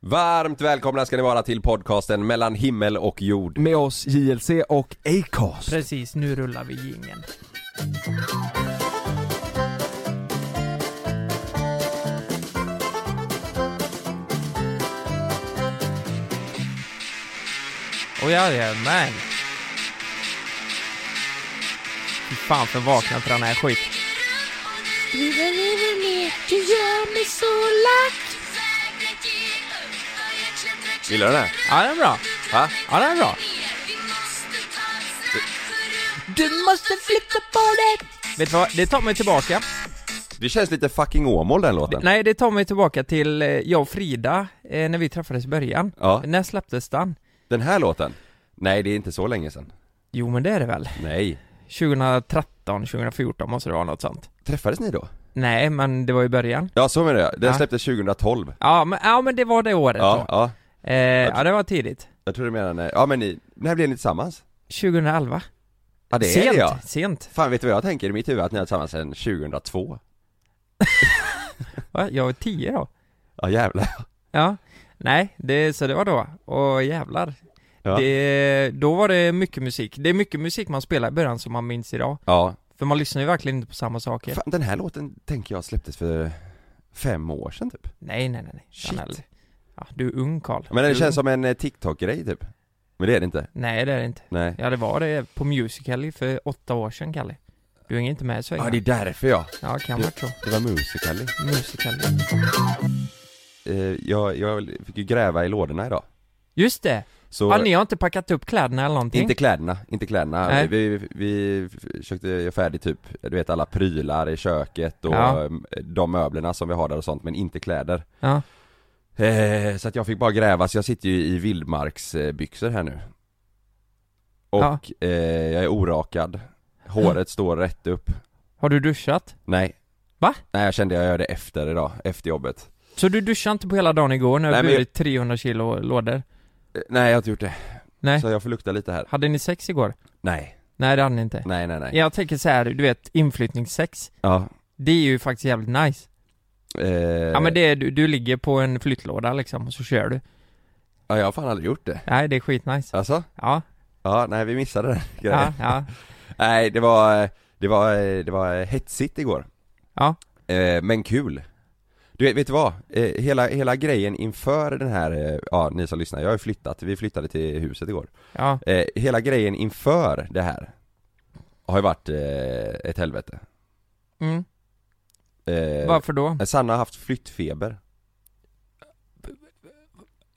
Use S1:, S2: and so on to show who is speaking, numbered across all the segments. S1: Varmt välkomna ska ni vara till podcasten mellan himmel och jord.
S2: Med oss JLC och Acast.
S3: Precis, nu rullar vi jingeln. Och jajamän! Fy fan för vakna till den här skit.
S4: Lilla, lilla me, du gör mig så lack
S1: Gillar du den här?
S3: Ja, den är bra.
S1: Va?
S3: Ja, den är bra.
S4: Du måste flytta på dig
S3: Vet du vad, det tar mig tillbaka.
S1: Det känns lite fucking Åmål den låten.
S3: Nej, det tar mig tillbaka till eh, jag och Frida, eh, när vi träffades i början.
S1: Ja,
S3: När släpptes den?
S1: den här låten. Nej, det är inte så länge sedan.
S3: Jo, men det är det väl?
S1: Nej.
S3: 2013, 2014 måste det vara något sånt.
S1: Träffades ni då?
S3: Nej, men det var i början.
S1: Ja, så menar jag. Den
S3: Ja.
S1: släpptes 2012.
S3: Ja, men, ja, men det var det året
S1: Ja,
S3: då.
S1: ja.
S3: Eh, ja, det var tidigt.
S1: Jag tror du menar när, ja men ni, när blev ni tillsammans?
S3: 2011.
S1: Ja det
S3: sent,
S1: är det ja.
S3: sent.
S1: Fan vet du vad jag tänker i mitt huvud? Att ni har varit tillsammans sedan 2002.
S3: Va? Jag var 10 då.
S1: Ja jävlar.
S3: Ja. Nej, det, så det var då. Och jävlar.
S1: Ja.
S3: Det, då var det mycket musik. Det är mycket musik man spelade i början som man minns idag.
S1: Ja.
S3: För man lyssnar ju verkligen inte på samma saker.
S1: Fan, den här låten tänker jag släpptes för fem år sedan typ.
S3: Nej, nej, nej. nej.
S1: Shit.
S3: Fan, eller- Ja, du är ung Karl.
S1: Men
S3: Du
S1: det
S3: är
S1: känns
S3: ung.
S1: som en eh, TikTok-grej typ. Men det är det inte.
S3: Nej, det är det inte.
S1: Nej.
S3: Ja, det var det på Musical.ly för åtta år sedan, Kalle. Du hänger inte med så
S1: Ja det är därför ja.
S3: Ja, kan
S1: Du-
S3: vara så.
S1: Det var Musical.ly.
S3: Musical.ly.
S1: Eh, jag, jag fick ju gräva i lådorna idag.
S3: Just det!
S1: Så,
S3: Ja, ni har inte packat upp kläderna eller någonting?
S1: inte kläderna, inte kläderna.
S3: Nej.
S1: Vi, vi, vi försökte göra färdigt typ, du vet alla prylar i köket och
S3: Ja.
S1: eh, de möblerna som vi har där och sånt, men inte kläder.
S3: Ja.
S1: Eh, så att jag fick bara gräva, så jag sitter ju i vildmarksbyxor här nu Och
S3: Ja.
S1: eh, jag är orakad Håret står rätt upp
S3: Har du duschat?
S1: Nej
S3: Va?
S1: Nej jag kände jag gör det efter idag, efter jobbet
S3: Så du duschade inte på hela dagen igår när
S1: Nej,
S3: du
S1: men jag-
S3: burit 300 kilo lådor?
S1: Eh, Nej jag har inte gjort det
S3: Nej.
S1: Så jag får lukta lite här
S3: Hade ni sex igår?
S1: Nej,
S3: Nej, det hade ni inte.
S1: nej nej nej
S3: Jag tänker så här, du vet, inflyttningssex.
S1: Ja,
S3: Det är ju faktiskt jävligt nice.
S1: eh,
S3: Ja men det är, du, du ligger på en flyttlåda liksom och så kör du.
S1: ja, jag har fan aldrig gjort det
S3: Nej, det är skitnice.
S1: Alltså?
S3: Ja,
S1: Ja, nej vi missade den grejen
S3: ja, ja.
S1: Nej det var, eh, det var, eh, det var eh, hetsigt igår
S3: Ja.
S1: Eh, men kul. Du vet, vet du vad? Eh, hela, hela grejen inför den här, eh, ja ni som lyssnar, jag har ju flyttat, vi flyttade till huset igår.
S3: Ja,
S1: Eh, hela grejen inför det här har ju varit eh, ett helvete.
S3: mm.
S1: Eh,
S3: Varför då?
S1: Sanna har haft flyttfeber.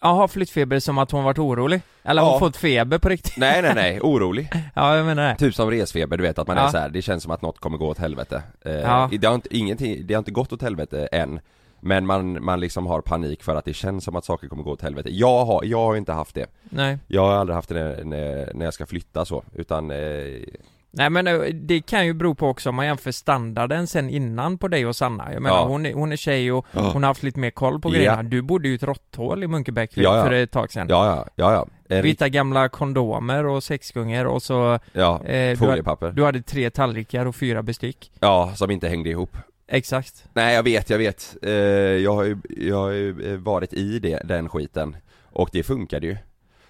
S3: Jaha, flyttfeber som att hon varit orolig? Eller har
S1: Ja.
S3: hon fått feber på riktigt?
S1: Nej nej nej, orolig.
S3: Ja, jag menar det.
S1: Typ som resfeber, du vet att man är
S3: Ja.
S1: så här, det känns som att något kommer gå åt helvete. Eh,
S3: Ja.
S1: det, har inte, ingenting, det har inte gått åt helvete än, men man, man liksom har panik för att det känns som att saker kommer gå åt helvete. Jag har, jag har inte haft det.
S3: Nej.
S1: Jag har aldrig haft det när, när, när jag ska flytta så, utan eh,
S3: Nej men eh, det kan ju bero på också om man jämför standarden sen innan på dig och Sanna. Jag menar
S1: Ja.
S3: hon, är, hon är tjej och
S1: Ja.
S3: hon har haft lite mer koll på
S1: Ja.
S3: grejerna. Du bodde ju i ett råtthål i Munkebäck
S1: Ja, ja.
S3: för ett tag sedan.
S1: ja ja, ja ja. En
S3: Vi
S1: rik-
S3: hittade gamla kondomer och sexgungor och så,
S1: ja
S3: eh, du, ha-
S1: foliepapper.
S3: du hade tre tallrikar och fyra bestick.
S1: Ja, som inte hängde ihop.
S3: Exakt.
S1: Nej jag vet, jag vet. Eh, jag, har ju, jag har ju eh, varit i det, den skiten. Och det funkade ju.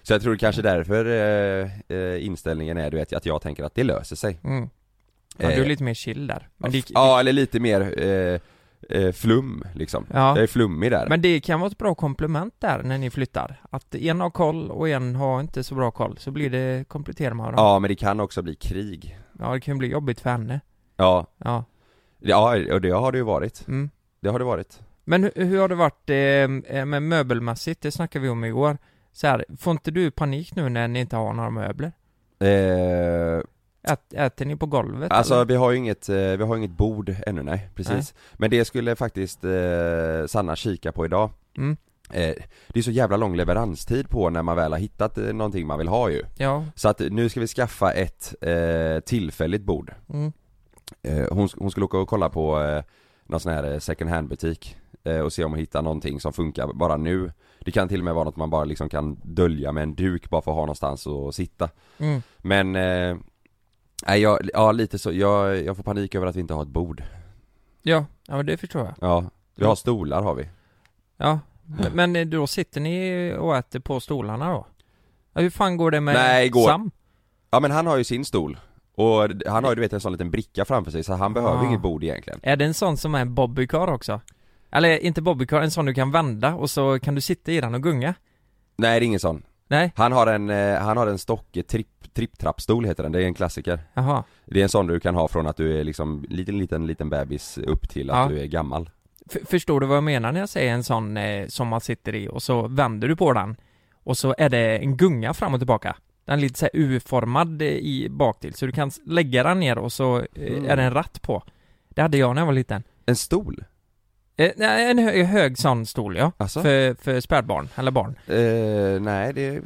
S1: Så jag tror kanske därför eh, eh, inställningen är du vet, att jag tänker att det löser sig.
S3: Mm. Ja,
S1: Eh,
S3: du är lite mer chill där. Men det,
S1: Ja, eller lite mer eh, eh, flum liksom.
S3: Ja.
S1: Jag är flummig där.
S3: men det kan vara ett bra komplement där när ni flyttar. Att en har koll och en har inte så bra koll, så blir det, kompletterar man varandra.
S1: Ja, men det kan också bli krig.
S3: Ja, det kan ju bli jobbigt för henne.
S1: Ja,
S3: Ja.
S1: ja och det har det ju varit.
S3: Mm.
S1: Det har det varit.
S3: Men hur, hur har det varit eh, eh, med möbelmässigt? Det snackade vi om igår. Så här, får inte du panik nu när ni inte har några möbler?
S1: Eh,
S3: Ät, äter ni på golvet?
S1: Alltså
S3: eller?
S1: vi har ju inget, eh, vi har inget bord ännu nej, precis. Men det skulle faktiskt eh, Sanna kika på idag.
S3: Mm.
S1: Eh, det är så jävla lång leveranstid på när man väl har hittat eh, någonting man vill ha ju.
S3: Ja.
S1: Så att nu ska vi skaffa ett eh, tillfälligt bord.
S3: Mm.
S1: Eh, hon, sk- hon skulle åka och kolla på eh, någon sån här eh, second hand butik eh, och se om hon hittar någonting som funkar bara nu. Det kan till och med vara något man bara liksom kan dölja med en duk bara för att ha någonstans att sitta.
S3: Mm.
S1: Men, eh, nej jag, ja lite så, jag, jag får panik över att vi inte har ett bord
S3: Ja. ja, men det förstår jag.
S1: Ja, vi har stolar har vi
S3: Ja, Men- Men då sitter ni och äter på stolarna då? Ja, Hur fan går det med
S1: Nej, går-
S3: Sam?
S1: Ja men han har ju sin stol och han har ju du vet en sån liten bricka framför sig så han behöver
S3: Ah.
S1: inget bord egentligen
S3: Är det en sån som är en bobbycar också? Eller inte bobbycar, en sån du kan vända och så kan du sitta i den och gunga?
S1: Nej det är ingen sån
S3: Nej?
S1: Han har en, eh, han har en stocke tripp, tripptrappstol heter den, det är en klassiker
S3: Jaha.
S1: Det är en sån du kan ha från att du är liksom liten liten liten bebis upp till att
S3: Ja.
S1: du är gammal
S3: F- förstår du vad jag menar när jag säger en sån eh, som man sitter i och så vänder du på den och så är det en gunga fram och tillbaka? Den är lite såhär U-formad eh, i baktill, så du kan s- lägga den ner och så eh,
S1: Mm.
S3: är det en ratt på. Det hade jag när jag var liten.
S1: En stol?
S3: Eh, nej, en hö- hög sån stol ja.
S1: Alltså?
S3: För, för spädbarn, eller barn.
S1: Eh, nej det,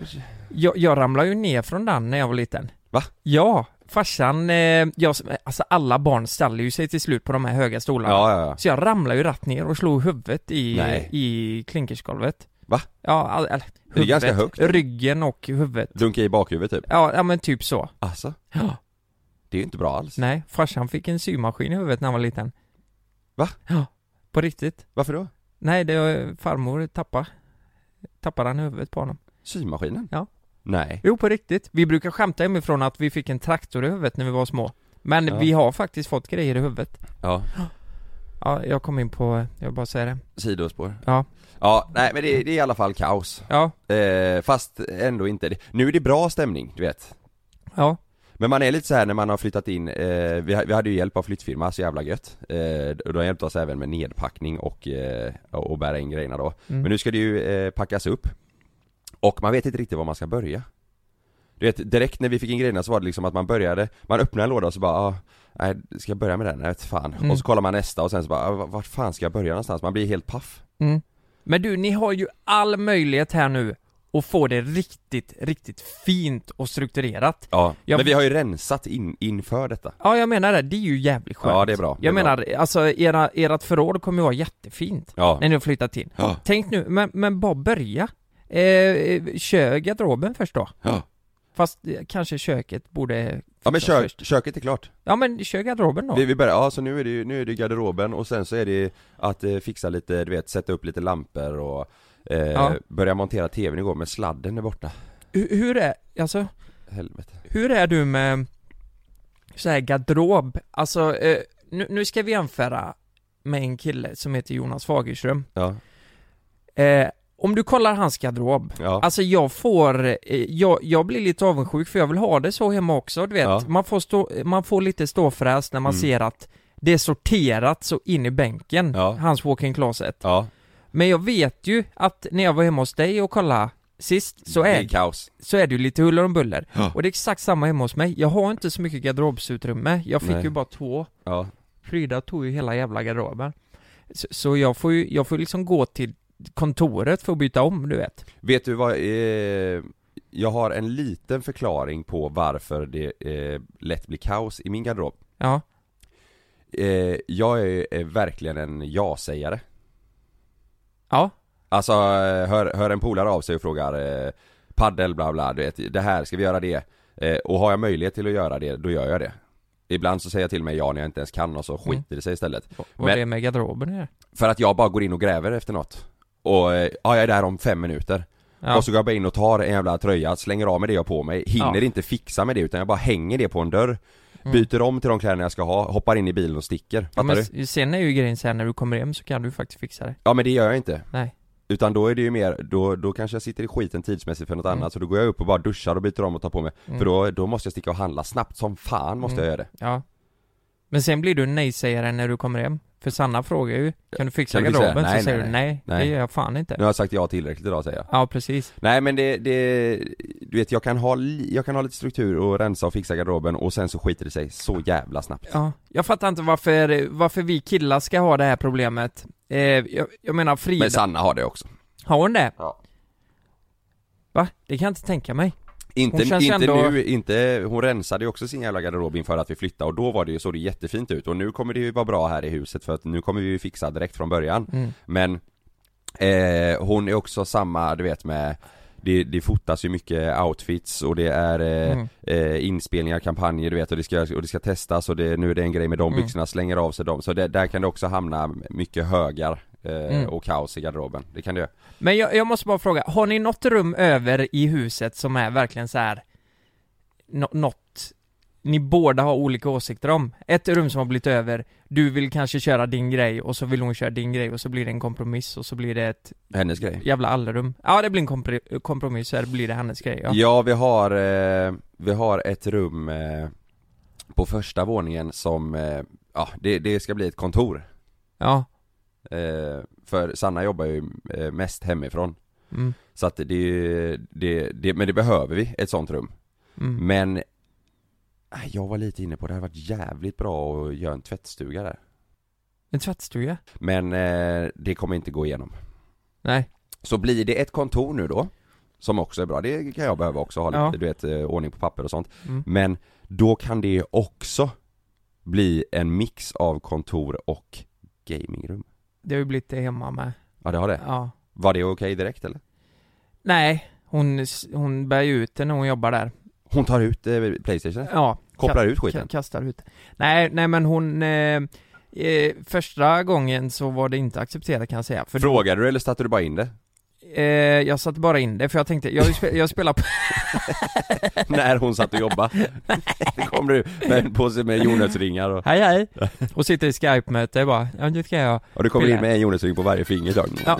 S3: Jag, jag ramlade ju ner från den när jag var liten.
S1: Va?
S3: Ja, farsan, eh, jag, alltså alla barn ställer ju sig till slut på de här höga stolarna.
S1: ja ja ja
S3: Så jag ramlade ju rätt ner och slog huvudet i,
S1: Nej.
S3: i klinkersgolvet.
S1: Va?
S3: Ja, all- eller
S1: Det är ganska högt.
S3: Ryggen och huvudet.
S1: Dunka i bakhuvudet typ?
S3: Ja, ja men typ så.
S1: Alltså?
S3: Ja.
S1: Det är ju inte bra alls
S3: Nej, farsan fick en symaskin i huvudet när han var liten.
S1: Va?
S3: Ja, på riktigt.
S1: Varför då?
S3: Nej, det var farmor tappa tappade han i huvudet på honom.
S1: Symaskinen?
S3: Ja.
S1: Nej
S3: Jo, på riktigt. Vi brukar skämta hemifrån att vi fick en traktor i huvudet när vi var små. Men
S1: Ja.
S3: vi har faktiskt fått grejer i huvudet.
S1: Ja
S3: Ja, jag kom in på, jag vill bara säger det.
S1: Sidospår
S3: Ja.
S1: Ja, nej men det, det är i alla fall kaos
S3: Ja,
S1: eh, Fast ändå inte det. Nu är det bra stämning, du vet
S3: ja,
S1: Men man är lite så här när man har flyttat in, eh, vi, vi hade ju hjälp av flyttfirma, så jävla gött eh, och De hjälpte oss även med nedpackning och, eh, och bära in grejerna då
S3: Mm.
S1: Men nu ska det ju eh, packas upp Och man vet inte riktigt var man ska börja Du vet, direkt när vi fick in grejerna så var det liksom att man började, man öppnade en låda och så bara ah, Nej, ska jag börja med den? Nej, vet fan.
S3: Mm.
S1: Och så kollar man nästa och sen så bara, ah, vart- vart fan ska jag börja någonstans? Man blir helt paff
S3: mm. Men du, ni har ju all möjlighet här nu att få det riktigt, riktigt fint och strukturerat.
S1: Ja,
S3: Ja.
S1: men vi har ju rensat in, inför detta
S3: Ja, jag menar det. Det är ju jävligt skönt.
S1: Ja, det är bra. Det är
S3: jag menar, alltså era, ert förråd kommer ju vara jättefint
S1: Ja,
S3: när ni har flyttat in.
S1: ja,
S3: Tänk nu, men, men bara börja. Eh, kör garderoben först då.
S1: ja.
S3: Fast eh, kanske köket borde
S1: ja men
S3: fixas
S1: kö,
S3: först.
S1: köket är klart
S3: Ja men kör garderoben då.
S1: vi, vi börjar, ja så nu är det ju, nu är det garderoben och sen så är det att eh, fixa lite, du vet, sätta upp lite lampor och eh,
S3: Ja.
S1: börja montera tvn igår men sladden är borta
S3: Hur, hur är, alltså,
S1: Helvete
S3: hur är du med så här garderob? Alltså, eh, nu, nu ska vi jämföra med en kille som heter Jonas Fagerström.
S1: Ja,
S3: Eh, om du kollar hans garderob,
S1: ja,
S3: Alltså jag får, eh, jag, jag blir lite avundsjuk för jag vill ha det så hemma också, du vet.
S1: Ja.
S3: Man, får stå, man får lite ståfräs när man
S1: Mm.
S3: ser att det är sorterat så in i bänken,
S1: Ja.
S3: hans walk-in closet.
S1: ja
S3: Men jag vet ju att när jag var hemma hos dig och kollade sist så
S1: Det
S3: är,
S1: är kaos
S3: så är det ju lite huller om buller.
S1: Ja.
S3: Och det är exakt samma hemma hos mig. Jag har inte så mycket garderobsutrymme, jag fick
S1: Nej.
S3: ju bara två.
S1: Ja,
S3: Frida tog ju hela jävla garderoben. Så, så jag får ju, jag får liksom gå till kontoret för att byta om, du vet.
S1: vet du vad, eh, jag har en liten förklaring på varför det eh, lätt blir kaos i min garderob
S3: Ja.
S1: eh, Jag är, är verkligen en ja-sägare
S3: Ja.
S1: Alltså, eh, hör, hör en polare av sig och frågar eh, paddel bla bla, du vet, det här, ska vi göra det? Eh, och har jag möjlighet till att göra det, då gör jag det Ibland så säger jag till mig ja när jag inte ens kan och så skiter det sig istället Men-
S3: Vad det är med garderoben är.
S1: För att jag bara går in och gräver efter något Och, eh, ja jag är där om fem minuter
S3: Ja.
S1: Och så går jag bara in och tar en jävla tröja, slänger av mig det jag har på mig, hinner
S3: Ja.
S1: inte fixa med det utan jag bara hänger det på en dörr
S3: Mm.
S1: Byter om till de kläderna jag ska ha, hoppar in i bilen och sticker,
S3: ja,
S1: fattar
S3: men
S1: du?
S3: s- sen är ju grejen så här när du kommer hem så kan du faktiskt fixa det.
S1: Ja men det gör jag inte
S3: Nej.
S1: Utan då är det ju mer, då, då kanske jag sitter i skiten tidsmässigt för något
S3: Mm.
S1: annat så då går jag upp och bara duschar och byter om och tar på mig
S3: Mm.
S1: För då, då måste jag sticka och handla snabbt som fan måste
S3: Mm.
S1: jag göra det
S3: Ja. Men sen blir du en nej-sägare när du kommer hem. För Sanna frågar ju, kan du fixa
S1: Kan du fixa
S3: garderoben?
S1: det?
S3: så
S1: Nej,
S3: säger
S1: nej,
S3: du nej,
S1: Nej.
S3: det gör jag fan inte.
S1: Nu har jag sagt ja tillräckligt idag säger jag
S3: Ja, precis.
S1: Nej men det, det du vet jag kan ha, li- jag kan ha lite struktur och rensa och fixa garderoben och sen så skiter det sig så jävla snabbt
S3: Ja. Jag fattar inte varför, varför vi killar ska ha det här problemet. Eh, jag, jag menar Frida,
S1: Men Sanna har det också
S3: har hon det?
S1: Ja.
S3: Va? Det kan jag inte tänka mig.
S1: Inte,
S3: Hon känns ju
S1: inte
S3: ändå-
S1: nu, inte, hon rensade ju också sin jävla garderob inför att vi flyttade och då var det ju, såg det jättefint ut och nu kommer det ju vara bra här i huset för att nu kommer vi ju fixa direkt från början
S3: Mm.
S1: Men eh, hon är också samma, du vet med det, det fotas ju mycket outfits och det är eh,
S3: Mm.
S1: eh, inspelningar, kampanjer du vet och det ska, och det ska testas och det, nu är det en grej med de
S3: Mm.
S1: byxorna, slänger av sig dem så det, där kan det också hamna mycket högar eh,
S3: Mm.
S1: och kaos i garderoben. Det kan det göra.
S3: Men jag, jag måste bara fråga, har ni något rum över i huset som är verkligen så här nå- något ni båda har olika åsikter om? Ett rum som har blivit över, du vill kanske köra din grej och så vill hon köra din grej och så blir det en kompromiss och så blir det ett
S1: Hennes grej.
S3: jävla allrum. Ja, det blir en kompr- kompromiss så här blir det hennes grej ja.
S1: Ja, vi har, eh, vi har ett rum eh, på första våningen som, eh, ja det, det ska bli ett kontor.
S3: Ja.
S1: Eh, för Sanna jobbar ju eh, mest hemifrån.
S3: Mm.
S1: Så att det, det, det, men det behöver vi, ett sånt rum.
S3: Mm.
S1: Men, ah, jag var lite inne på det, hade varit jävligt bra att göra en tvättstuga där.
S3: En tvättstuga?
S1: Men eh, det kommer inte gå igenom.
S3: Nej.
S1: Så blir det ett kontor nu då, som också är bra, det kan jag behöva också ha lite,
S3: Ja.
S1: du vet, eh, ordning på papper och sånt.
S3: Mm.
S1: Men då kan det också bli en mix av kontor och gamingrum.
S3: Det har ju blivit det hemma med.
S1: Ja det har det.
S3: Ja.
S1: Var det okej direkt eller?
S3: Nej, hon, s- hon bär ju ut det när hon jobbar där.
S1: Hon tar ut eh, Playstation,
S3: Ja.
S1: kopplar ut
S3: Ka-
S1: skiten.
S3: kastar ut. Nej, nej men hon... Eh, eh, första gången så var det inte accepterat kan jag säga. För
S1: Frågade du eller satte du bara in det?
S3: eh, jag satte bara in det för jag tänkte, jag, har ju spe, jag spelar på...
S1: När hon satt och jobbade? det kommer du med en påse med jordnötsringar och,
S3: Hej hej! Och sitter i skype-möte bara, ja nu ska jag...
S1: och du kommer in med en jordnötsring på varje finger så.
S3: Ja.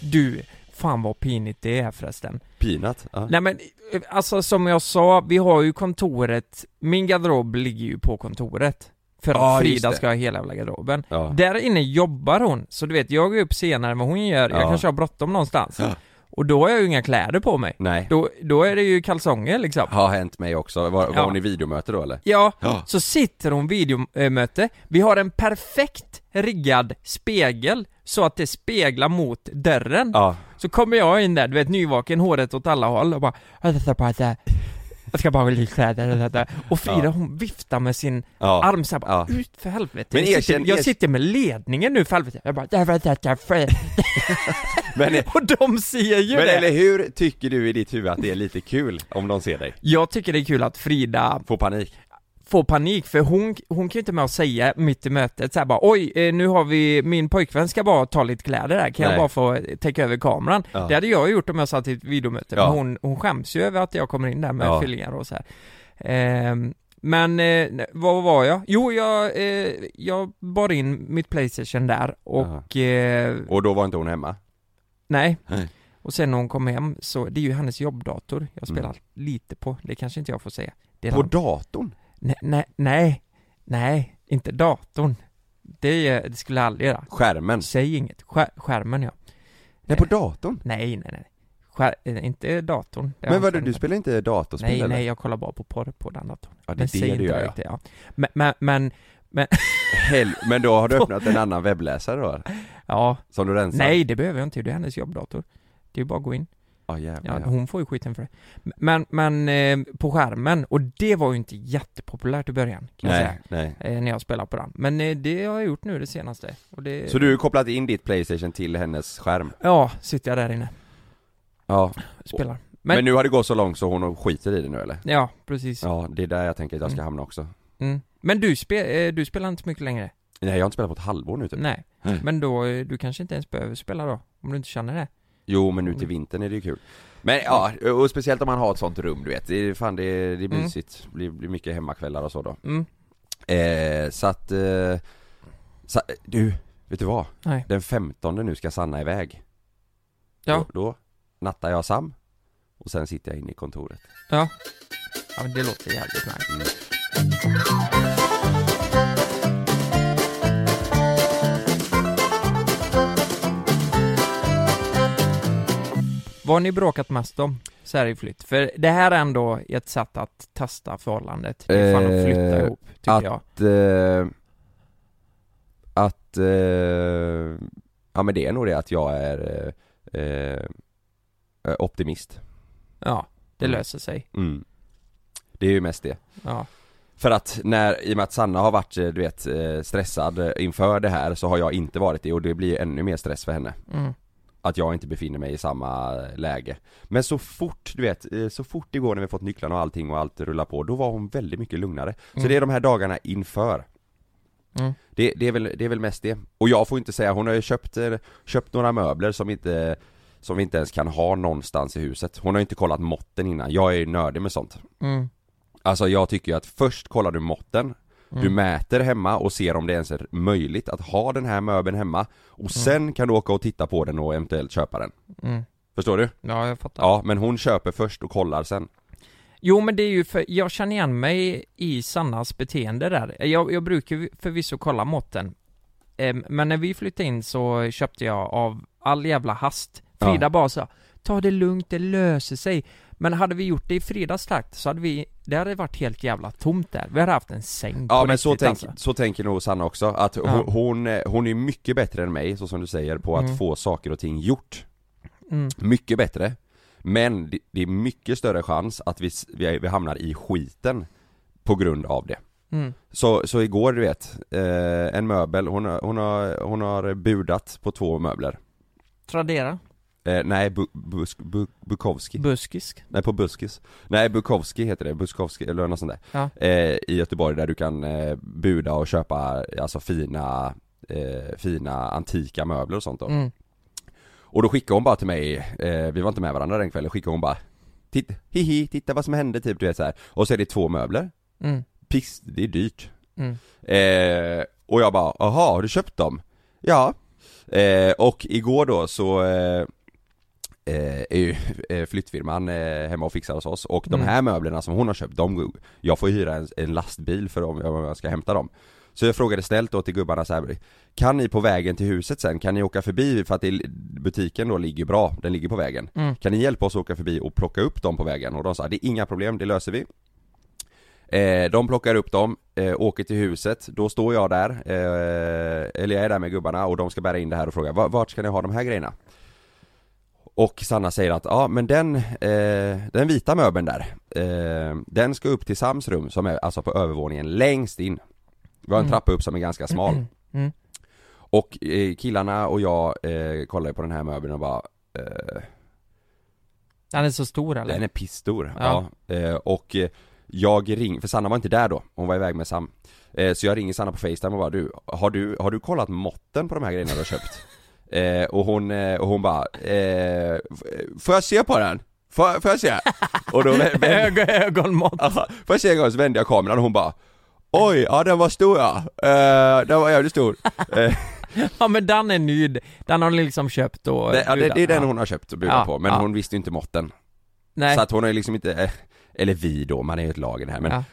S3: Du, fan vad pinigt det är förresten.
S1: Pinat. Ja.
S3: Nej men, eh, alltså som jag sa, vi har ju kontoret, min garderob ligger ju på kontoret. För att
S1: Ja, just
S3: Frida
S1: det.
S3: ska ha hela jävla garderoben.
S1: Ja.
S3: Där inne jobbar hon, så du vet, jag går upp senare än vad hon gör, jag
S1: Ja.
S3: kanske har bråttom någonstans.
S1: Ja.
S3: Och då har jag ju inga kläder på mig.
S1: Nej.
S3: Då, då är det ju kalsonger liksom.
S1: Har hänt mig också. Var, var
S3: Ja.
S1: hon i videomöte då eller?
S3: Ja,
S1: Ja.
S3: så sitter hon videomöte, vi har en perfekt riggad spegel så att det speglar mot dörren.
S1: Ja.
S3: Så kommer jag in där, du vet nyvaken, håret åt alla håll och bara "Jag ska bara- Jag ska bara ha lite kläder och Frida
S1: Ja.
S3: hon viftar med sin
S1: ja.
S3: arm såhär bara,
S1: Ja.
S3: ut för helvete.
S1: Men
S3: jag,
S1: erkänn-
S3: sitter, jag
S1: erk-
S3: sitter med ledningen nu för helvete. Jag bara, "Jag vet inte, jag vet inte."
S1: Men,
S3: och de ser ju
S1: men
S3: det.
S1: eller hur tycker du i ditt huvud att det är lite kul om de ser dig?
S3: Jag tycker det är kul att Frida
S1: Får panik.
S3: får panik för hon, hon kan ju inte med att säga mitt i mötet såhär bara oj, eh, nu har vi, min pojkvän ska bara ta lite kläder här, kan jag
S1: Nej.
S3: bara få eh, täcka över kameran?
S1: Ja.
S3: Det hade jag gjort om jag satt i ett videomöte,
S1: Ja.
S3: men hon, hon skäms ju över att jag kommer in där med
S1: Ja.
S3: fyllingar och så här. Ehm, men eh, ne- vad var jag? Jo, jag, eh, jag bar in mitt Playstation där och eh,
S1: Och då var inte hon hemma.
S3: nej.
S1: Nej.
S3: Och sen när hon kom hem så, det är ju hennes jobbdator jag
S1: Mm.
S3: spelar lite på, det kanske inte jag får säga. Det är
S1: På
S3: den-
S1: datorn?
S3: Nej, nej, nej, nej, inte datorn. Det, eh, det skulle jag aldrig göra.
S1: Skärmen?
S3: Säg inget. Skär, skärmen ja.
S1: Nej på datorn?
S3: Nej, nej, nej. Skär, eh, inte datorn. Det har
S1: Men
S3: jag
S1: vadå,
S3: inte
S1: du spelar inte datorspel
S3: Nej,
S1: eller?
S3: nej, jag kollar bara på porr på den datorn.
S1: Ja, det
S3: Men
S1: är
S3: säg
S1: det
S3: inte
S1: du gör ja.
S3: riktigt, ja. Men, men, men
S1: Hel... Men då har du öppnat en annan webbläsare då?
S3: ja.
S1: Som du rensar?
S3: Nej, det behöver jag inte. Det är hennes jobbdator. Det är ju bara att gå in.
S1: Ja jävlar
S3: Ja,
S1: ja.
S3: hon får ju skiten för det. Men, men eh, på skärmen, och det var ju inte jättepopulärt i början, kan jag
S1: Nej,
S3: säga.
S1: nej.
S3: Eh, när jag spelade på den. Men eh, det har jag gjort nu det senaste. Och det,
S1: Så du har kopplat in ditt Playstation till hennes skärm?
S3: Ja, sitter jag där inne.
S1: Ja.
S3: spelar. Men,
S1: Men, nu har det gått så långt så hon skiter i det nu eller?
S3: ja, precis.
S1: Ja, det är där jag tänker att jag ska hamna också.
S3: Mm. Men du, spe, eh, du spelar inte så mycket längre?
S1: Nej, jag har inte spelat på ett halvår nu typ.
S3: Nej.
S1: Nej.
S3: Men då, eh, du kanske inte ens behöver spela då? Om du inte känner det?
S1: Jo, men nu
S3: Mm.
S1: till vintern är det ju kul. Men ja, och speciellt om man har ett sånt rum du vet. Det är, fan, det är, det är
S3: Mm.
S1: mysigt. Det blir, blir mycket hemmakvällar och så då.
S3: Mm.
S1: Eh, så att, eh, sa, du, vet du vad?
S3: Nej.
S1: Den 15 nu ska Sanna iväg.
S3: Ja.
S1: Då, då nattar jag Sam och sen sitter jag inne i kontoret.
S3: Ja. Ja, men det låter jävligt nice.
S1: Mm.
S3: Vad har ni bråkat mest om? Så här i flytt. För det här är ändå ett sätt att testa förhållandet. Det är fan att flytta
S1: Eh,
S3: ihop, tycker
S1: att-
S3: jag.
S1: Att, eh, att eh, ja men det är nog det att jag är eh, eh, optimist.
S3: Ja, det
S1: Mm.
S3: löser sig.
S1: Mm. Det är ju mest det.
S3: Ja.
S1: För att när, i och med att Sanna har varit eh, du vet eh, stressad eh, inför det här så har jag inte varit det och det blir ännu mer stress för henne
S3: Mm.
S1: Att jag inte befinner mig i samma eh, läge Men så fort, du vet, eh, så fort igår när vi fått nycklarna och allting och allt rullar på Då var hon väldigt mycket lugnare Så
S3: Mm.
S1: det är de här dagarna inför
S3: Mm.
S1: Det, det, är väl, det är väl mest det. Och jag får inte säga, hon har ju köpt, eh, köpt några möbler som inte som vi inte ens kan ha någonstans i huset. Hon har ju inte kollat måtten innan, jag är ju nördig med sånt.
S3: Mm.
S1: Alltså jag tycker ju att först kollar du måtten,
S3: Mm.
S1: du mäter hemma och ser om det ens är möjligt att ha den här möbeln hemma och sen kan du åka och titta på den och eventuellt köpa den.
S3: Mm.
S1: Förstår du?
S3: Ja, jag fattar.
S1: Ja, men hon köper först och kollar sen.
S3: Jo men det är ju för, jag känner igen mig i Sannas beteende där. Jag, jag brukar ju förvisso kolla måtten. Ehm, Men när vi flyttade in så köpte jag av all jävla hast. Frida
S1: Ja.
S3: bara sa Ta det lugnt, det löser sig. Men hade vi gjort det i fredagstakt så hade vi, det hade varit helt jävla tomt där. Vi hade haft en säng
S1: Ja
S3: på
S1: men så,
S3: riktigt,
S1: tänk,
S3: alltså.
S1: så tänker nog Sanna också, att
S3: Ja.
S1: hon, hon, eh, hon är mycket bättre än mig, så som du säger, på att
S3: Mm.
S1: få saker och ting gjort.
S3: Mm.
S1: Mycket bättre. Men det, det är mycket större chans att vi, s- vi, vi hamnar i skiten på grund av det.
S3: Mm.
S1: Så, så igår du vet, eh, en möbel, hon, har- hon, har, hon har budat på två möbler
S3: Tradera,
S1: eh, Nej, bu, busk, bu, Bukowski
S3: buskisk.
S1: Nej på Buskis Nej Bukowski heter det, Buskowski eller något sånt där
S3: Ja.
S1: eh, I Göteborg där du kan eh, buda och köpa alltså fina, eh, fina antika möbler och sånt då
S3: Mm.
S1: Och då skickade hon bara till mig, eh, vi var inte med varandra den kvällen, skickade hon bara Titt, hihi, titta vad som hände typ du vet så här. Och så är det två möbler,
S3: Mm.
S1: piss, det är dyrt
S3: Mm.
S1: Eh, och jag bara, aha, har du köpt dem? Ja. Eh, och igår då så eh, eh, är ju eh, flyttfirman eh, hemma och fixar hos oss och de
S3: Mm.
S1: här möblerna som hon har köpt, de, jag får hyra en, en lastbil för om jag, om jag ska hämta dem. Så jag frågade snällt då till gubbarna så här, kan ni på vägen till huset sen, kan ni åka förbi för att det, butiken då ligger bra, den ligger på vägen.
S3: Mm.
S1: Kan ni hjälpa oss att åka förbi och plocka upp dem på vägen? Och de sa, det är inga problem, det löser vi. Eh, de plockar upp dem, eh, åker till huset, då står jag där, eh, eller jag är där med gubbarna och de ska bära in det här och fråga "Va- vart ska ni ha de här grejerna? Och Sanna säger att ja men den, eh, den vita möbeln där, eh, den ska upp till Sams rum som är alltså på övervåningen längst in. Vi har en
S3: Mm.
S1: trappa upp som är ganska smal.
S3: Mm.
S1: Och eh, killarna och jag eh, kollar ju på den här möbeln och bara eh,
S3: Den är så stor eller?
S1: den är pissstor, ja.
S3: Ja.
S1: Eh, och eh, jag ring, för Sanna var inte där då, hon var iväg med Sam. Eh, så jag ringer Sanna på Facetime och bara du, har du, har du kollat måtten på de här grejerna du har köpt? eh, och hon, eh, och hon bara, eh, f- får jag se på den? Får, får jag se? och då vä- vänder,
S3: Ögon, ögonmått.
S1: ja, får jag se en gång så vände jag kameran och hon bara Oj, ja den var stor ja. Eh, den var jävligt stor. Eh,
S3: Ja men den är nyd. Den har ni liksom köpt och
S1: det, ja, det, det är
S3: budat.
S1: den
S3: Ja.
S1: hon har köpt och budat
S3: Ja,
S1: på, men
S3: ja.
S1: hon visste ju inte måtten.
S3: Nej.
S1: Så att hon har ju liksom inte, eh, eller vi då, man är ju ett lag i det här men
S3: Ja.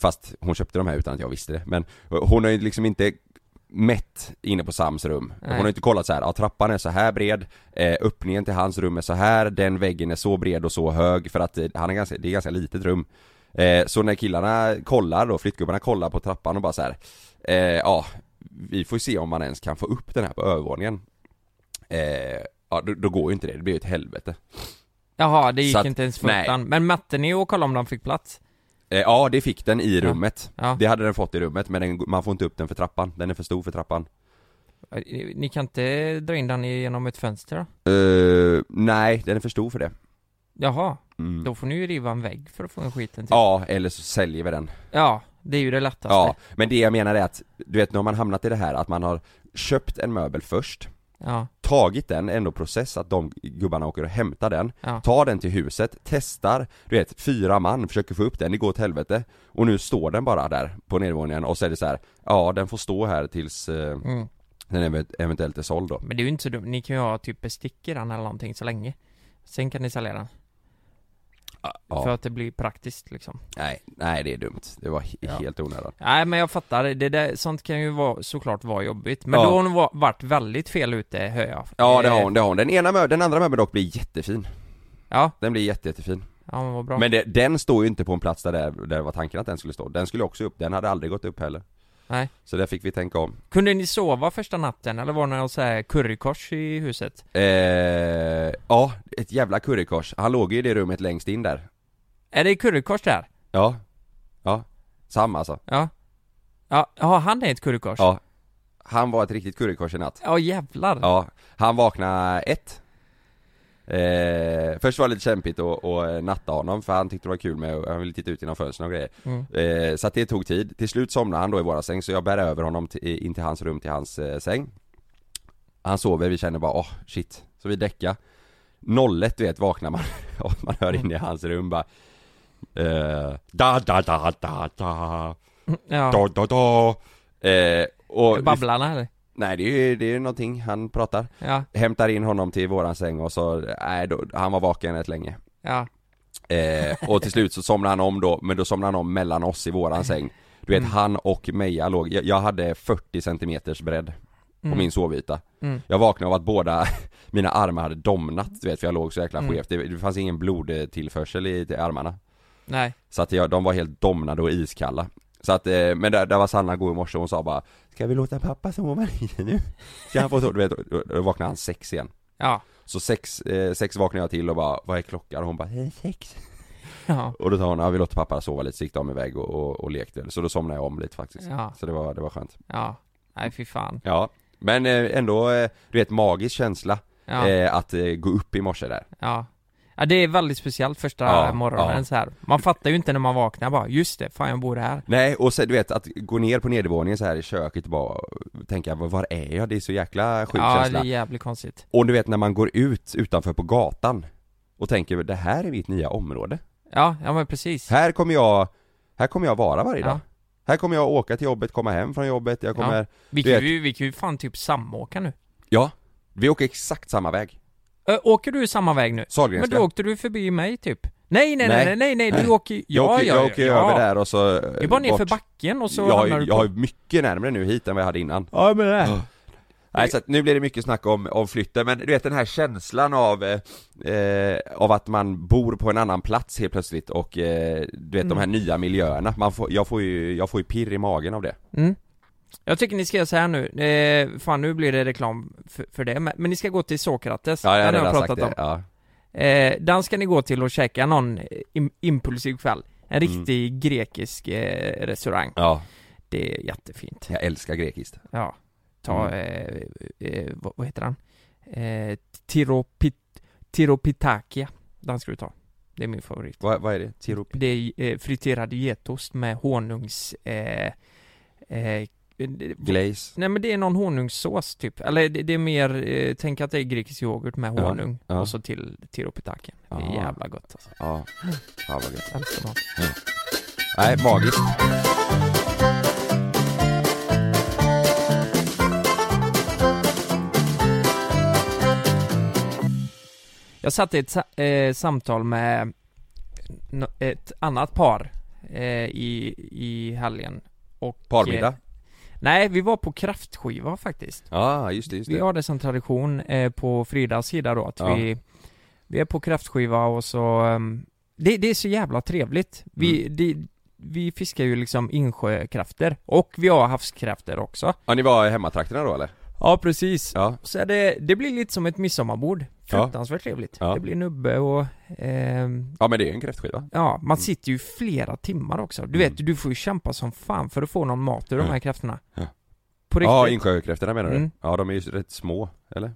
S1: Fast hon köpte de här utan att jag visste det, men hon har ju liksom inte mätt inne på Sams rum. Hon
S3: Nej.
S1: har inte kollat så här, ja trappan är så här bred, eh, öppningen till hans rum är så här, den väggen är så bred och så hög för att eh, han är ganska, det är ganska litet rum. Eh, så när killarna kollar då, flyttgubbarna kollar på trappan och bara så här, eh, ja vi får se om man ens kan få upp den här på övervåningen. Eh, ja då, då går ju inte det, det blir ju ett helvete.
S3: Jaha, det gick
S1: Så att-
S3: inte ens
S1: nej.
S3: förtan. Men mätte ni och kollade om de fick plats?
S1: Eh, ja det fick den i
S3: Ja.
S1: rummet.
S3: Ja.
S1: Det hade den fått i rummet men den, man får inte upp den för trappan, den är för stor för trappan.
S3: Ni kan inte dra in den genom ett fönster då?
S1: Eh, nej, den är för stor för det.
S3: Jaha,
S1: Mm.
S3: då får ni ju riva en vägg för att få den skiten till.
S1: Ja, eller så säljer vi den.
S3: ja det är ju det lättaste.
S1: Ja, men det jag menar är att, du vet nu har man hamnat i det här att man har köpt en möbel först,
S3: Ja,
S1: tagit den, ändå process att de gubbarna åker och hämtar den,
S3: ja.
S1: tar den till huset, testar, du vet fyra man försöker få upp den, det går åt helvete. Och nu står den bara där på nedervåningen och så är det så här, ja den får stå här tills eh,
S3: Mm.
S1: den ev- eventuellt är såld då.
S3: Men det är ju inte så dumt. Ni kan ju ha typ bestick i den eller någonting så länge. Sen kan ni sälja den.
S1: Ja.
S3: För att det blir praktiskt liksom.
S1: Nej, nej det är dumt. Det var he-
S3: Ja.
S1: helt onödan.
S3: Nej men jag fattar, det där, sånt kan ju vara, såklart vara jobbigt. Men
S1: Ja.
S3: då har hon va- varit väldigt fel ute, hör jag.
S1: Ja det
S3: Eh,
S1: har hon, det har hon. Den ena mö- den andra möbeln dock blir jättefin.
S3: Ja,
S1: Den blir jätte, jättefin.
S3: ja men vad bra.
S1: Men det, den står ju inte på en plats där, det- där det var tanken att den skulle stå. Den skulle också upp, den hade aldrig gått upp heller.
S3: Nej.
S1: Så där fick vi tänka om.
S3: Kunde ni sova första natten eller var det någon så här currykors i huset?
S1: Eh, ja, ett jävla currykors. Han låg ju i det rummet längst in där.
S3: Är det currykors där?
S1: Ja. Ja. Samma alltså.
S3: Ja. Ja, ja han är ett currykors?
S1: Ja. Han var ett riktigt currykors i natt.
S3: Ja, jävlar.
S1: Ja. Han vaknade ett. Eh, först var det lite kämpigt att att eh, natta honom för han tyckte det var kul med, han ville titta ut genom fönstren och grejer
S3: Mm.
S1: Eh, så att det tog tid. Till slut somnade han då i våra säng så jag bär över honom till, in till hans rum, till hans eh, säng. Han sover, vi känner bara åh shit. Så vi däckar. 01 du vet vaknar man och man hör
S3: Mm.
S1: in i hans rum bara eh, da da da da da
S3: Ja,
S1: da da da eh, och vi,
S3: Babblarna eller?
S1: Nej det är ju det är ju någonting han pratar.
S3: Ja,
S1: Hämtar in honom till våran säng och så, nej då, han var vaken rätt länge.
S3: ja,
S1: Eh, och till slut så somnade han om då, men då somnade han om mellan oss i våran säng Du vet
S3: Mm.
S1: han och Meja låg, jag, jag hade 40 centimeters bredd på
S3: Mm.
S1: min sovyta
S3: Mm.
S1: Jag vaknade av att båda mina armar hade domnat du vet för jag låg så jäkla
S3: Mm.
S1: skevt, det, det fanns ingen blodtillförsel i, i armarna
S3: nej,
S1: Så att jag, de var helt domnade och iskalla Så att, eh, men där, där var Sanna god i morse, hon sa bara Ska vi låta pappa sova lite nu? Ska han få sova? Du vet, då, då vaknade han sex igen
S3: ja,
S1: Så sex, eh, sex vaknade jag till och bara, vad är klockan? Och hon bara, "Eh, sex
S3: ja,
S1: och då sa hon, ja vi låter pappa sova lite, så gick de iväg och, och, och lekte. Så då somnade jag om lite faktiskt.
S3: ja,
S1: Så det var, det var skönt.
S3: ja, nej fy fan,
S1: Ja. Men eh, ändå, eh, du vet, magisk känsla
S3: ja,
S1: eh, att eh, gå upp i morse där.
S3: ja Ja det är väldigt speciellt första
S1: Ja,
S3: morgonen
S1: ja.
S3: så här. Man fattar ju inte när man vaknar bara, just det, fan jag bor här
S1: Nej, och sen, du vet, att gå ner på nedervåningen så här i köket och bara tänka, "Var- var är jag? Det är så jäkla sjuk
S3: Ja det
S1: känsla.
S3: är jävligt konstigt
S1: Och du vet, när man går ut utanför på gatan och tänker, det här är mitt nya område.
S3: Ja, ja men precis
S1: Här kommer jag, här kommer jag vara varje
S3: Ja.
S1: dag. Här kommer jag åka till jobbet, komma hem från jobbet, jag kommer...
S3: Vi
S1: Du
S3: kan,
S1: vet-
S3: ju, vi kan ju fan typ samåka nu
S1: ja. Vi åker exakt samma väg.
S3: Ö, Åker du samma väg nu? Men
S1: Sahlgrenska.
S3: då åkte du förbi mig typ Nej nej nej
S1: Nej.
S3: nej nej, nej. du åker ju-
S1: Jag
S3: ja,
S1: åker,
S3: ja,
S1: jag åker ju
S3: ja.
S1: över där och så
S3: Det är bara ner för backen och så
S1: jag,
S3: hamnar du
S1: jag,
S3: på...
S1: är mycket närmare nu hit än vad jag hade innan
S3: Ja men det
S1: Nej så att nu blir det mycket snack om, om flytten men du vet den här känslan av eh, eh, Av att man bor på en annan plats helt plötsligt och eh, du vet de
S3: Mm.
S1: här nya miljöerna man får, jag, får ju, jag får ju pirr i magen av det
S3: Mm. Jag tycker ni ska göra så här nu, eh, fan nu blir det reklam för, för det, men, men ni ska gå till Sokrates,
S1: Ja jag har
S3: den har
S1: redan
S3: jag
S1: sagt
S3: pratat
S1: det,
S3: om.
S1: ja.
S3: Eh, den ska ni gå till och käka någon eh, im- impulsiv kväll. En
S1: Mm.
S3: riktig grekisk eh, restaurang.
S1: ja,
S3: Det är jättefint.
S1: jag älskar grekiskt
S3: Ja.
S1: Mm.
S3: Ta, eh, eh, vad, vad heter den? Eh, Tiropit, tiropitakia. Den ska du ta. Det är min favorit.
S1: Vad, vad är det? Tirop?
S3: Det är eh, friterad getost med honungs... Eh, eh, det-
S1: Glaze?
S3: Nej men det är någon honungssås typ, eller det, det är mer, eh, tänk att det är grekisk yoghurt med
S1: Ja,
S3: honung
S1: ja.
S3: och så till tiropitaken. Det är
S1: Ja.
S3: jävla gott alltså.
S1: Ja, fan vad gött
S3: Älskar man.
S1: Nej, magiskt
S3: Jag satt i ett sa- eh, samtal med no- ett annat par eh, i, i helgen och... Eh,
S1: Parmiddag?
S3: nej, vi var på kraftskiva faktiskt.
S1: Ja, just det, just
S3: Vi
S1: det
S3: har det som tradition eh, på Fridas sida då att
S1: Ja.
S3: vi Vi är på kräftskiva och så ehm, det, det är så jävla trevligt Vi,
S1: Mm.
S3: det, vi fiskar ju liksom insjökräftor och vi har havskräftor också
S1: Ja, ni var i hemmatrakterna då eller?
S3: Ja precis
S1: Ja,
S3: Så är det, det blir lite som ett midsommarbord Fruktansvärt trevligt
S1: Ja.
S3: Det blir nubbe och ehm,
S1: ja men det är ju en kräftskiva
S3: Ja, man sitter ju flera timmar också Du vet,
S1: Mm.
S3: du får ju kämpa som fan för att få någon mat ur de här
S1: Ja.
S3: kräftorna
S1: Ja.
S3: På riktigt
S1: Ja, insjökräftorna menar du?
S3: Mm.
S1: Ja, de är ju rätt små, eller?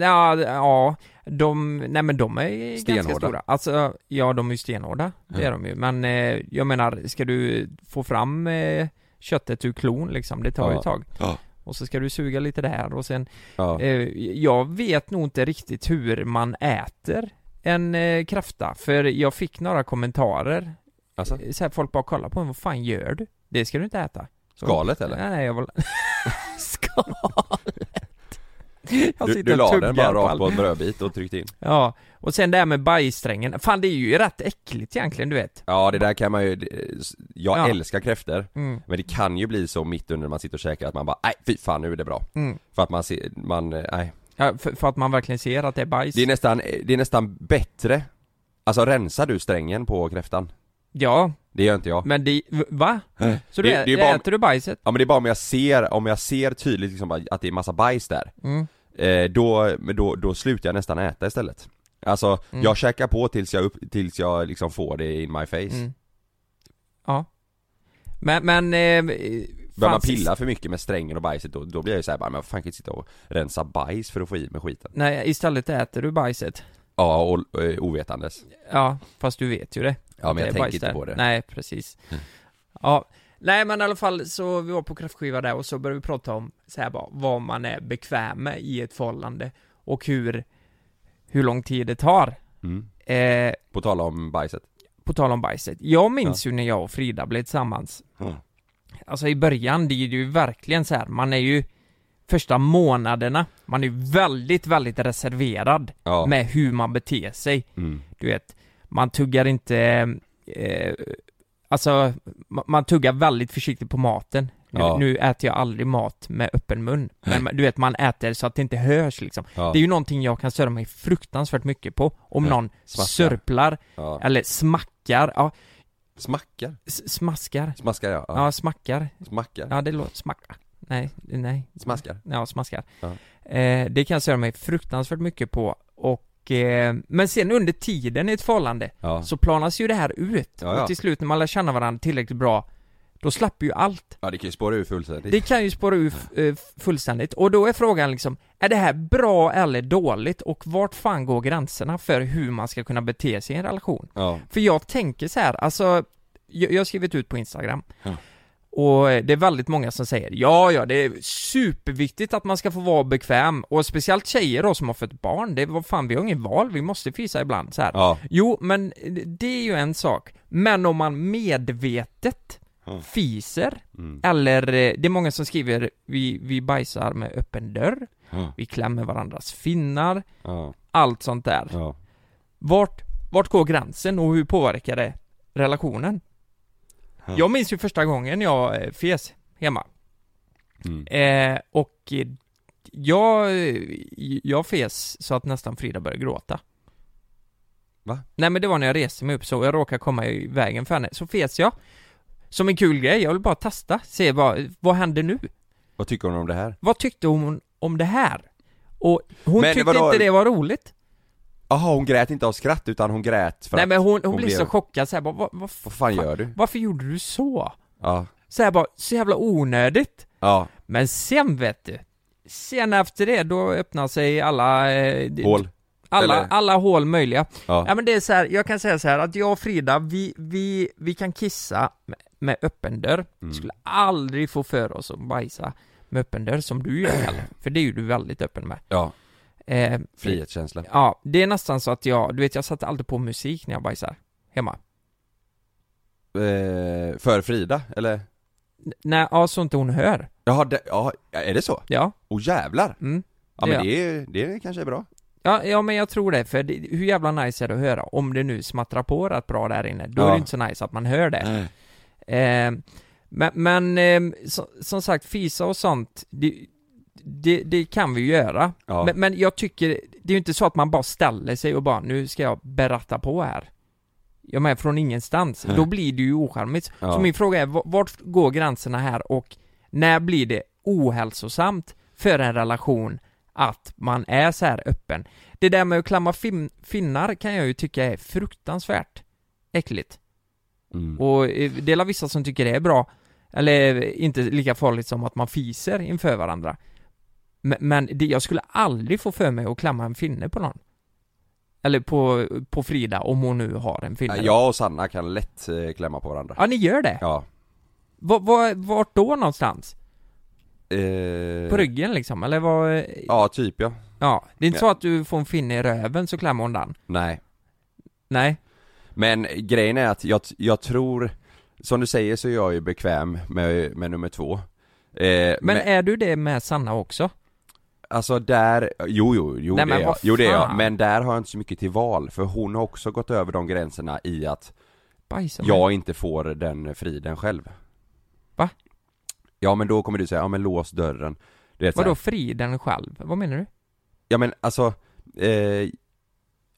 S3: Ja, d- ja, de, nej men de är ganska
S1: Stenhårda.
S3: stora. Alltså, ja de är ju stenhårda, det
S1: Ja.
S3: är de ju. Men eh, jag menar, ska du få fram eh, köttet ur klon liksom, det tar ju
S1: Ja.
S3: ett tag.
S1: Ja.
S3: Och så ska du suga lite där och sen,
S1: Ja,
S3: eh, jag vet nog inte riktigt hur man äter en eh, kräfta, för jag fick några kommentarer.
S1: alltså,
S3: Så här, folk bara kollar på en, vad fan gör du? Det ska du inte äta.
S1: skalet eller?
S3: Nej, nej jag var... Skalet! Jag
S1: Du,
S3: sitter
S1: du
S3: och
S1: la den
S3: tuggar
S1: bara
S3: på
S1: rakt
S3: allt.
S1: på en brödbit och tryckte in?
S3: Ja, och sen det här med bajssträngen, fan det är ju rätt äckligt egentligen du vet
S1: Ja, det där kan man ju, jag
S3: Ja.
S1: älskar kräftor
S3: mm,
S1: men det kan ju bli så mitt under när man sitter och käkar att man bara nej fy fan nu är det bra
S3: mm.
S1: För att man ser, man, eh, nej
S3: Ja, för, för att man verkligen ser att det är bajs
S1: Det är nästan, eh, det är nästan bättre Alltså rensar du strängen på kräftan?
S3: Ja,
S1: Det gör inte jag
S3: men det, v- va? Så du,
S1: Det-
S3: ä-
S1: det är ju bara-
S3: äter du bajset?
S1: Ja men det är bara om jag ser, om jag ser tydligt liksom bara att det är massa bajs där
S3: Mm.
S1: eh, då, men då, då slutar jag nästan äta istället Alltså,
S3: Mm.
S1: jag käkar på tills jag, upp, tills jag liksom får det in my face
S3: Mm. Ja Men, men... Eh,
S1: Börjar man
S3: fan,
S1: pilla för mycket med strängen och bajset då, då blir jag ju såhär bara, men vad fan kan jag inte sitta och rensa bajs för att få i mig skiten?
S3: Nej, istället äter du bajset
S1: Ja, och, eh, ovetandes.
S3: Ja, fast du vet ju det.
S1: Ja, men
S3: Det är
S1: jag
S3: bajs
S1: tänker inte
S3: där.
S1: på det.
S3: Nej, precis. Ja, nej men i alla fall så vi var på kräftskiva där och så började vi prata om så här bara, vad man är bekväm med i ett förhållande och hur, hur lång tid det tar.
S1: Mm.
S3: Eh,
S1: På tal om bajset.
S3: på tal om bajset. Jag minns ju när jag och Frida blev tillsammans.
S1: Mm.
S3: Alltså i början, det är ju verkligen så här, man är ju första månaderna, man är ju väldigt, väldigt reserverad
S1: Ja.
S3: med hur man beter sig.
S1: Mm.
S3: Du vet, man tuggar inte, eh, alltså ma- man tuggar väldigt försiktigt på maten. Nu,
S1: Ja.
S3: nu äter jag aldrig mat med öppen mun. Men man- du vet, man äter så att det inte hörs liksom.
S1: Ja.
S3: Det är ju någonting jag kan störa mig fruktansvärt mycket på. Om
S1: Ja.
S3: någon
S1: Smaskar.
S3: sörplar
S1: ja.
S3: eller smackar, ja,
S1: Smackar.
S3: s- smaskar.
S1: Smaskar ja.
S3: Ja, smackar.
S1: Smackar.
S3: Ja, det låter smacka. Nej, nej.
S1: Smaskar.
S3: Ja, smaskar.
S1: Ja.
S3: Eh, det kan jag störa mig fruktansvärt mycket på. Och, eh, men sen under tiden i ett förhållande
S1: Ja.
S3: så planas ju det här ut.
S1: Ja, ja.
S3: Och till slut när man lär känna varandra tillräckligt bra, då slapp ju allt.
S1: ja, det kan ju spåra ur fullständigt.
S3: Det kan ju spåra ur f- eh, fullständigt. Och då är frågan liksom, är det här bra eller dåligt? Och vart fan går gränserna för hur man ska kunna bete sig i en relation?
S1: Ja.
S3: För jag tänker så här, alltså, jag, jag har skrivit ut på Instagram.
S1: Ja.
S3: Och eh, det är väldigt många som säger ja, ja, det är superviktigt att man ska få vara bekväm. Och speciellt tjejer då som har fått barn, det var fan, vi har ingen val, vi måste fisa ibland så här.
S1: Ja.
S3: Jo, men det är ju en sak. Men om man medvetet
S1: Ja.
S3: fiser,
S1: Mm.
S3: eller eh, det är många som skriver vi, vi bajsar med öppen dörr,
S1: Ja.
S3: vi klämmer varandras finnar,
S1: Ja.
S3: allt sånt där.
S1: Ja.
S3: Vart, vart går gränsen och hur påverkar det relationen?
S1: Ja.
S3: Jag minns ju första gången jag eh, fes hemma.
S1: Mm.
S3: Eh, och eh, jag, jag fes så att nästan Frida började gråta.
S1: Va?
S3: Nej men det var när jag reste mig upp så, och jag råkade komma i vägen för henne, så fes jag. Som en kul grej, jag ville bara testa, se vad, vad händer nu?
S1: Vad tycker hon om det här?
S3: Vad tyckte hon om det här? Och hon
S1: Men
S3: tyckte
S1: vadå?
S3: inte det var roligt.
S1: Jaha, hon grät inte av skratt utan hon grät för
S3: Nej
S1: att,
S3: men hon, hon,
S1: hon
S3: blev
S1: blev-
S3: så chockad så här, bara, vad, vad,
S1: Vad fan gör du?
S3: varför gjorde du så?
S1: Ja.
S3: Så här bara, så jävla onödigt.
S1: Ja.
S3: Men sen vet du, sen efter det då öppnar sig alla... Eh, d-
S1: Hål.
S3: Alla,
S1: Eller?
S3: alla hål möjliga.
S1: Ja.
S3: Ja men det är så här, jag kan säga så här att jag och Frida, vi, vi, vi kan kissa med, med öppen dörr.
S1: Mm.
S3: Skulle aldrig få för oss att bajsa med öppen dörr som du gör Kalle. För det är ju du väldigt öppen med.
S1: Ja.
S3: Eh,
S1: Frihetskänsla.
S3: Ja, det är nästan så att jag, du vet jag satte alltid på musik när jag bajsar. Hemma.
S1: Eh, för Frida, eller?
S3: N- Nej, ja så inte hon hör.
S1: Jaha, det, ja, är det så?
S3: Ja.
S1: Åh jävlar!
S3: Mm.
S1: Ja
S3: Det
S1: men det, är, det kanske är bra.
S3: Ja, ja men jag tror det, för det, hur jävla nice är det att höra? Om det nu smattrar på rätt bra där inne, då är
S1: Ja.
S3: det inte så nice att man hör det.
S1: Nej.
S3: Eh, men men ehm, så, som sagt, fisa och sånt, det, det, det kan vi ju göra.
S1: Ja.
S3: Men, men jag tycker, det är ju inte så att man bara ställer sig och bara nu ska jag berätta på här. Jag menar från ingenstans,
S1: Nej.
S3: då blir det ju ocharmigt.
S1: Ja.
S3: Så min fråga är, va- vart går gränserna här och när blir det ohälsosamt för en relation att man är så här öppen? Det där med att klamma fin- finnar kan jag ju tycka är fruktansvärt äckligt.
S1: Mm.
S3: Och eh, det är väl vissa som tycker det är bra, eller eh, inte lika farligt som att man fiser inför varandra. Men, men det, jag skulle aldrig få för mig att klamma en finne på någon. Eller på, på Frida, om hon nu har en finne.
S1: Ja, Jag och Sanna kan lätt eh, klämma på varandra.
S3: Ja, ni gör det?
S1: Ja.
S3: Va, va, vart då någonstans?
S1: Eh,
S3: På ryggen liksom, eller vad? Ja.
S1: Ja, typ ja.
S3: Det är inte så att du får en finne i röven så klämmer hon den?
S1: Nej.
S3: Nej?
S1: Men grejen är att jag, jag tror, som du säger så är jag ju bekväm med, med nummer två. Eh,
S3: Men,
S1: men,
S3: är du det med Sanna också?
S1: alltså där, jo jo, jo
S3: Nej,
S1: det
S3: men
S1: är jag.
S3: vad
S1: Jo det är jag.
S3: fan.
S1: Men där har jag inte så mycket till val, för hon har också gått över de gränserna i att
S3: Bajsa med-
S1: jag inte får den friden själv.
S3: Va?
S1: Ja men då kommer du säga, ja men lås dörren. Du vet, så här.
S3: Vadå friden själv? Vad menar du?
S1: Ja men alltså, eh,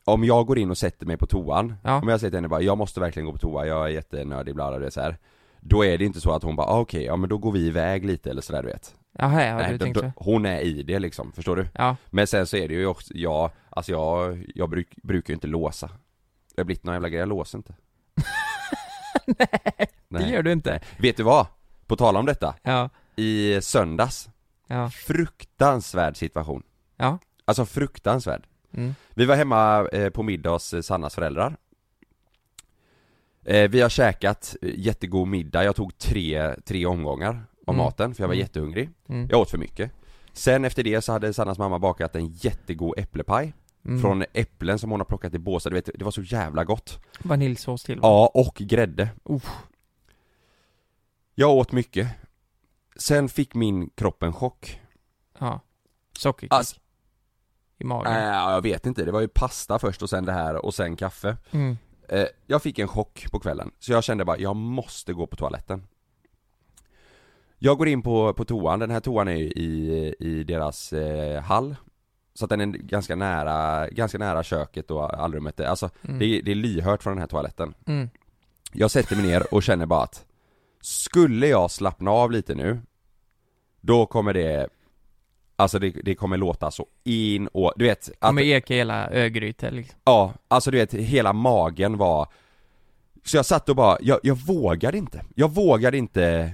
S1: om jag går in och sätter mig på toan,
S3: Ja.
S1: om jag säger till henne bara 'Jag måste verkligen gå på toa, jag är jättenördig' bla bla bla, så här. Då är det inte så att hon bara ah, 'Okej, ja men då går vi iväg lite' eller sådär du vet
S3: Jaha, ja,
S1: Nej,
S3: du
S1: då-
S3: tänkte
S1: då,
S3: så?
S1: Hon är i det liksom, förstår du?
S3: Ja.
S1: Men sen så är det ju också, jag, alltså jag, jag bruk, brukar ju inte låsa Det har blivit någon jävla grej, jag låser inte Nej,
S3: Det gör du inte?
S1: Vet du vad? På tal om detta,
S3: Ja,
S1: i söndags,
S3: ja,
S1: fruktansvärd situation
S3: ja.
S1: Alltså fruktansvärd
S3: Mm.
S1: Vi var hemma eh, på middag hos eh, Sannas föräldrar eh, Vi har käkat eh, jättegod middag, jag tog tre, tre omgångar av
S3: Mm.
S1: maten för jag var
S3: Mm.
S1: jättehungrig
S3: Mm.
S1: Jag åt för mycket Sen efter det så hade Sannas mamma bakat en jättegod äpplepaj
S3: Mm.
S1: Från äpplen som hon har plockat i båsar, du vet, det var så jävla gott
S3: Vaniljsås till.
S1: Ja, och grädde
S3: Uff.
S1: Jag åt mycket Sen fick min kropp en chock
S3: ja. Sockerkick
S1: Alltså- äh,
S3: i magen.
S1: Nej, jag vet inte, det var ju pasta först och sen det här och sen kaffe
S3: Mm.
S1: Eh, jag fick en chock på kvällen, så jag kände bara, jag måste gå på toaletten. Jag går in på, på toan, den här toan är ju i, i deras eh, hall. Så att den är ganska nära, ganska nära köket och allrummet, alltså
S3: Mm.
S1: det, är- det är lyhört från den här toaletten.
S3: Mm.
S1: Jag sätter mig ner och känner bara att, skulle jag slappna av lite nu, då kommer det Alltså det, det kommer låta så in och, du vet
S3: Ja,
S1: att-
S3: med eka i hela Örgryte liksom.
S1: Ja, alltså du vet, hela magen var Så jag satt och bara, jag, jag vågade inte, jag vågade inte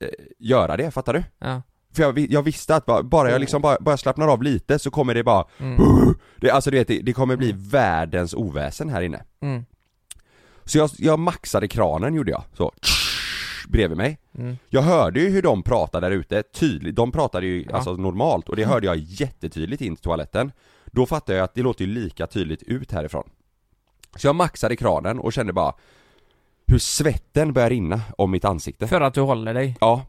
S1: eh, göra det, fattar du?
S3: Ja.
S1: För jag, vi- jag visste att bara, bara jag liksom, bara, bara jag slappnar av lite så kommer det bara,
S3: Mm.
S1: det, alltså du vet, det, det kommer bli världens oväsen här inne
S3: Mm.
S1: Så jag, jag maxade kranen gjorde jag, så bredvid mig
S3: Mm.
S1: Jag hörde ju hur de pratade där ute, tydligt, de pratade ju
S3: Ja. Mm.
S1: alltså normalt och det hörde jag jättetydligt in till toaletten Då fattade jag att det låter ju lika tydligt ut härifrån Så jag maxade kranen och kände bara hur svetten började rinna om mitt ansikte
S3: För att du håller dig.
S1: Ja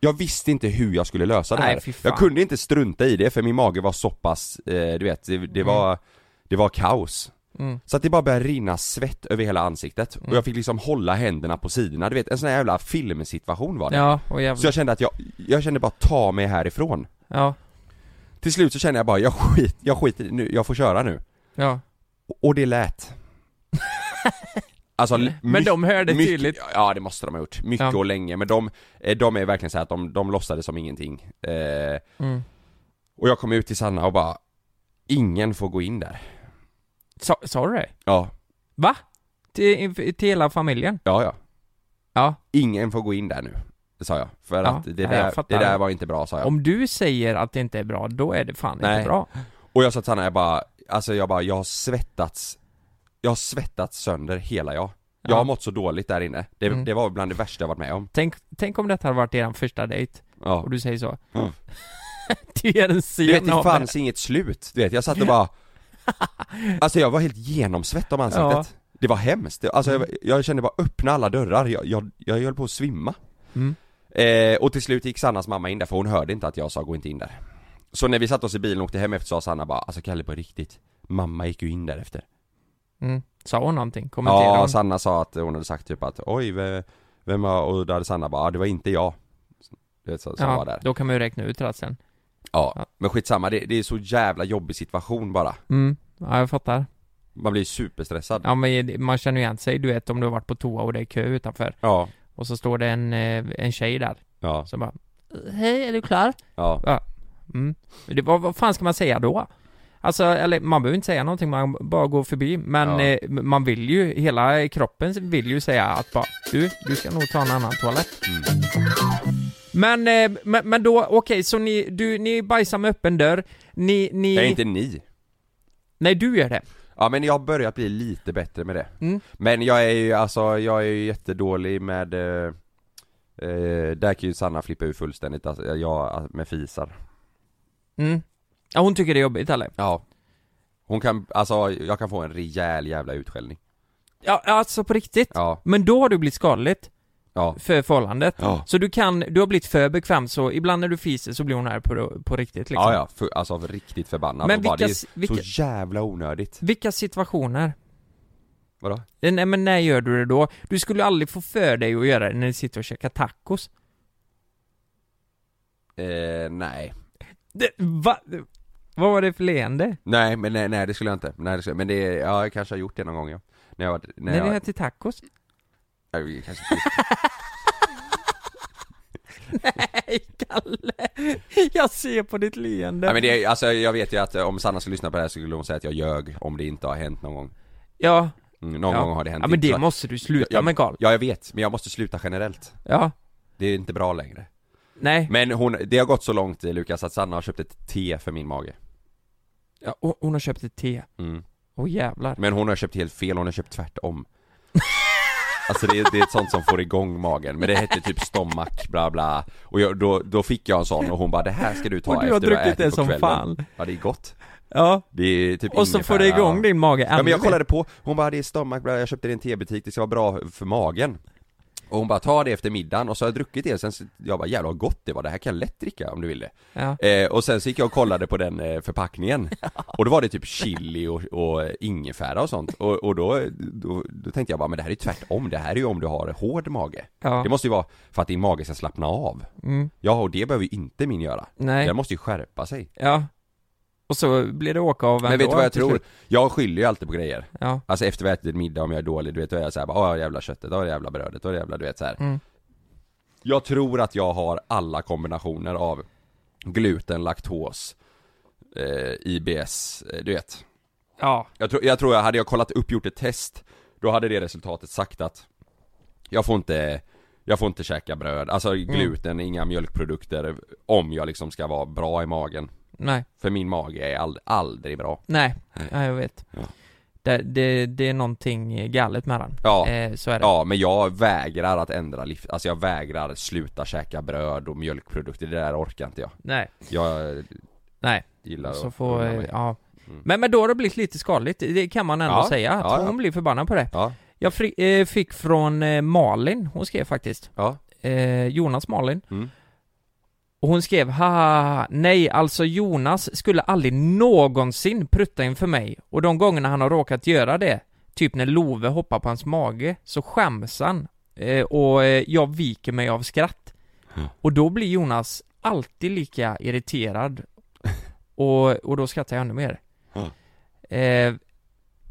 S1: Jag visste inte hur jag skulle lösa det
S3: Nej,
S1: här
S3: fy fan.
S1: Jag kunde inte strunta i det för min mage var så pass, eh, du vet, det, det
S3: Mm.
S1: var Det var kaos
S3: Mm.
S1: så att det bara började rinna svett över hela ansiktet
S3: Mm.
S1: och jag fick liksom hålla händerna på sidorna, du vet en sån här jävla filmsituation var det
S3: Ja, och
S1: så
S3: jävlar.
S1: jag kände att jag, jag kände bara ta mig härifrån
S3: Ja,
S1: Till slut så kände jag bara, jag skit, jag skiter i- nu, jag får köra nu
S3: ja.
S1: Och- Och det lät Alltså l-
S3: Men
S1: mycket-
S3: de hörde
S1: mycket-
S3: tydligt.
S1: Ja det måste de ha gjort, mycket
S3: Ja.
S1: och länge men de, eh, de är verkligen så här att de, de låtsades som ingenting eh,
S3: Mm.
S1: Och jag kom ut till Sanna och bara Ingen får gå in där
S3: Sa, sa du det?
S1: Ja,
S3: Va? Till, till hela familjen?
S1: ja ja
S3: Ja.
S1: Ingen får gå in där nu Sa jag, för
S3: Ja,
S1: att det
S3: ja,
S1: där,
S3: jag fattar.
S1: det där var inte bra sa jag
S3: Om du säger att det inte är bra, då är det fan
S1: Nej.
S3: inte bra.
S1: Och jag sa till Sanna, jag bara, alltså jag bara, jag har svettats Jag har svettats sönder hela jag Jag
S3: Ja.
S1: har mått så dåligt där inne, det,
S3: Mm.
S1: det var bland det värsta jag varit med om
S3: Tänk, tänk om detta hade varit er första dejt,
S1: ja.
S3: och du säger så.
S1: Mm.
S3: du ger en
S1: Du vet
S3: scen
S1: det
S3: av
S1: fanns inget slut, du vet jag satt och bara Alltså jag var helt genomsvett om ansiktet
S3: Ja. Mm.
S1: Det var hemskt, alltså jag, jag kände bara öppna alla dörrar, jag, jag, jag höll på att svimma
S3: Mm.
S1: eh, Och till slut gick Sannas mamma in där för hon hörde inte att jag sa gå inte in där Så när vi satte oss i bilen och åkte hem efter sa Sanna bara, alltså Kalle på riktigt Mamma gick ju in där efter
S3: Mm. Sa hon någonting? Kommenterade
S1: Ja,
S3: hon?
S1: Sanna sa att hon hade sagt typ att oj, ve- vem har, och då hade Sanna bara, ah, det var inte jag Du vet, så, som var där
S3: Då kan man ju räkna ut rassen.
S1: Ja, men skitsamma, det, det är så jävla jobbig situation bara
S3: Mm. Ja, jag fattar.
S1: Man blir superstressad Ja,
S3: Ja, men man känner ju igen sig, du vet, om du har varit på toa och det är kö utanför.
S1: ja,
S3: Och så står det en, eh, en tjej där,
S1: ja,
S3: som bara Hej, är du klar?
S1: ja,
S3: Mm. Det, vad, vad fan ska man säga då? Alltså, eller man behöver inte säga någonting, man bara går förbi. Men
S1: Ja.
S3: eh, man vill ju, hela kroppen vill ju säga att bara, du, du ska nog ta en annan toalett.
S1: mm.
S3: Men, eh, men, men då, okej, så ni, du, ni bajsar med öppen dörr, ni, ni...
S1: Det är inte ni
S3: Nej, du gör det.
S1: Ja men jag har börjat bli lite bättre med det
S3: Mm.
S1: Men jag är ju, alltså jag är ju jättedålig med eh, eh, Där kan ju Sanna flippa ur fullständigt, alltså, jag med fisar
S3: Mm. Ja, hon tycker det är jobbigt, eller?
S1: Ja Hon kan, alltså jag kan få en rejäl jävla utskällning
S3: Ja, alltså på riktigt.
S1: Ja,
S3: Men då har du blivit skadligt
S1: ja
S3: för förhållandet.
S1: Ja.
S3: Så du kan, du har blivit för bekväm så ibland när du fiser så blir hon här på, på riktigt liksom.
S1: Ja, ja, för, alltså riktigt förbannad
S3: Men
S1: och bara,
S3: vilka,
S1: det är
S3: vilka,
S1: så jävla onödigt
S3: vilka situationer?
S1: Vadå?
S3: Eh, Nej men när gör du det då? Du skulle aldrig få för dig att göra det när du sitter och käkar tacos.
S1: Eh, nej
S3: Det, va? Vad var det för leende?
S1: Nej men nej, nej det skulle jag inte, nej, det skulle, men det, ja, jag kanske har gjort det någon gång ja När jag var, när
S3: När ni
S1: jag,
S3: äter tacos?
S1: jag, jag kanske inte
S3: Nej Kalle! Jag ser på ditt leende.
S1: Nej men det, alltså jag vet ju att eh, om Sanna skulle lyssna på det här så skulle hon säga att jag ljög om det inte har hänt någon gång
S3: ja,
S1: mm, Någon
S3: ja.
S1: gång har det hänt
S3: ja men
S1: inte
S3: det
S1: så-
S3: måste du sluta
S1: jag-
S3: med Karl.
S1: Ja jag vet, men jag måste sluta generellt
S3: Ja.
S1: Det är inte bra längre
S3: Nej.
S1: Men hon, det har gått så långt eh, Lukas att Sanna har köpt ett te för min mage
S3: Ja, och hon har köpt ett te.
S1: Mm.
S3: Åh jävlar.
S1: Men hon har köpt helt fel, hon har köpt tvärtom Alltså det är, det är ett sånt som får igång magen, men det hette typ stomach, bla bla Och jag, då, då fick jag en sån och hon bara 'Det här ska du ta
S3: Och du har
S1: efter du
S3: druckit
S1: ätit på
S3: det som
S1: kvällen.
S3: fan.
S1: Ja det är gott
S3: Ja.
S1: Det är typ
S3: Och så får det
S1: ingefära
S3: igång din mage
S1: Ja men
S3: ännu
S1: jag
S3: mer.
S1: kollade på, hon bara det är stomach, bla, jag köpte det i en tebutik, det ska vara bra för magen Och hon bara ta det efter middagen och så har jag druckit det sen, så- jag bara jävlar vad gott det var, det här kan jag lätt dricka om du vill det
S3: Ja.
S1: eh, Och sen så gick jag och kollade på den eh, förpackningen Och då var det typ chili och, och ingefära och sånt och, och då, då, då tänkte jag bara men det här är ju tvärtom, det här är ju om du har hård mage
S3: Ja.
S1: Det måste ju vara för att din mage ska slappna av
S3: Mm.
S1: Ja och det behöver ju inte min göra,
S3: Nej.
S1: den måste ju skärpa sig
S3: Ja. Och så blir det åka av
S1: Men vet
S3: ändå
S1: du vad jag
S3: till
S1: tror?
S3: slut.
S1: Jag skyller ju alltid på grejer
S3: Ja.
S1: Alltså efter vi har ätit middag om jag är dålig, du vet då är jag såhär bara åh jävla köttet, åh jävla brödet, åh jävla du vet såhär
S3: Mm.
S1: Jag tror att jag har alla kombinationer av gluten, laktos, eh, IBS, eh, du vet
S3: Ja.
S1: jag tror, jag tror jag, hade jag kollat upp, gjort ett test, då hade det resultatet sagt att jag får inte, jag får inte käka bröd, alltså
S3: Mm.
S1: gluten, inga mjölkprodukter om jag liksom ska vara bra i magen
S3: Nej.
S1: För min mage är ald- aldrig bra
S3: Nej.
S1: Nej.
S3: Ja, jag vet.
S1: Ja.
S3: Det, det, det är någonting galet med den.
S1: Ja,
S3: Eh, så är det.
S1: Ja, men jag vägrar att ändra liv, alltså jag vägrar sluta käka bröd och mjölkprodukter, det där orkar inte jag
S3: Nej.
S1: Jag
S3: Nej.
S1: gillar
S3: Så
S1: att
S3: får,
S1: unna
S3: eh,
S1: mig.
S3: ja.
S1: Mm.
S3: Men, men då har det blivit lite skadligt, det kan man ändå
S1: Ja.
S3: säga. Att
S1: Ja, ja.
S3: hon blir förbannad på det.
S1: Ja,
S3: Jag fri, eh, fick från eh, Malin, hon skrev faktiskt.
S1: ja,
S3: Eh, Jonas Malin.
S1: mm.
S3: Och hon skrev ha nej alltså Jonas skulle aldrig någonsin prutta inför mig och de gångerna han har råkat göra det, typ när Love hoppar på hans mage, så skäms han eh, och eh, jag viker mig av skratt.
S1: Mm.
S3: Och då blir Jonas alltid lika irriterad och, och då skrattar jag ännu mer.
S1: Mm.
S3: Eh,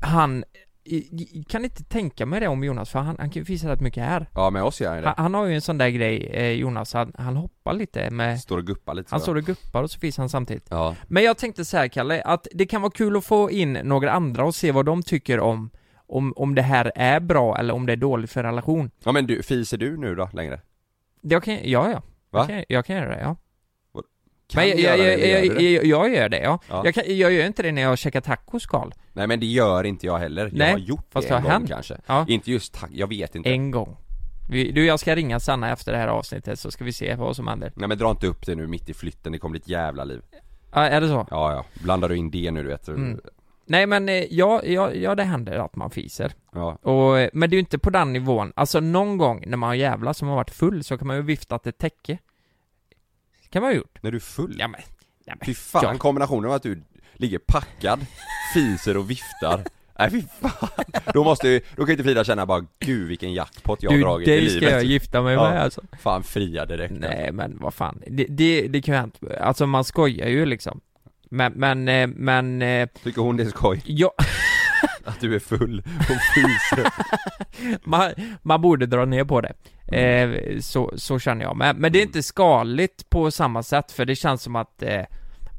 S3: han i- i- kan inte tänka mig det om Jonas för han, han kan ju visa rätt mycket här.
S1: ja med oss gör han ju
S3: Han,
S1: det,
S3: han har ju en sån där grej, eh, Jonas, han, han hoppar lite med
S1: står och guppar lite så.
S3: eh. han står och guppar och så finns han samtidigt.
S1: Ja,
S3: Men jag tänkte så här Kalle, att det kan vara kul att få in några andra och se vad de tycker om om, om det här är bra eller om det är dåligt för relation.
S1: ja men du, fiser du nu då längre?
S3: Det kan, ja, ja.
S1: Va?
S3: Jag kan, jag kan göra det, ja.
S1: Kan
S3: Men
S1: du göra
S3: jag, jag,
S1: det, eller gör
S3: jag,
S1: du
S3: jag,
S1: det?
S3: jag, jag gör det, ja.
S1: Ja.
S3: Jag, kan, jag gör inte det när jag käkar tacos, Karl.
S1: Nej men det gör inte jag heller, jag
S3: Nej,
S1: har gjort
S3: fast
S1: det
S3: det
S1: en
S3: har Eh.
S1: gång
S3: hänt.
S1: kanske
S3: Ja.
S1: Inte just tack, jag vet inte
S3: En gång. Vi, du, jag ska ringa Sanna efter det här avsnittet så ska vi se vad som händer.
S1: Nej men dra inte upp det nu mitt i flytten, det kommer bli ett jävla liv
S3: Ja, är det så?
S1: Ja ja, blandar du in det nu du vet
S3: Mm. Nej men, eh, ja, ja, ja det händer att man fiser.
S1: Ja,
S3: Och, eh, men det är ju inte på den nivån. Alltså någon gång när man har jävla som har varit full så kan man ju viftat ett täcke. kan man ha gjort.
S1: när du är full
S3: Ja men, ja, men.
S1: Fy fan,
S3: Ja.
S1: kombinationen av att du ligger packad, fiser och viftar Nej fy fan, då måste ju, då kan ju inte Frida känna bara gud vilken jackpot jag har
S3: Du,
S1: dragit i
S3: dig
S1: livet
S3: ska jag gifta mig
S1: Ja.
S3: med alltså.
S1: Fan fria direkt
S3: Nej men vad fan, det, det, det kan ju ha hänt. Alltså man skojar ju liksom. Men, men, eh, men, eh,
S1: Tycker hon det är skoj
S3: ja,
S1: att du är full och fiser?
S3: man, man borde dra ner på det. Eh, så, så känner jag. Men, men det är inte skadligt på samma sätt för det känns som att eh,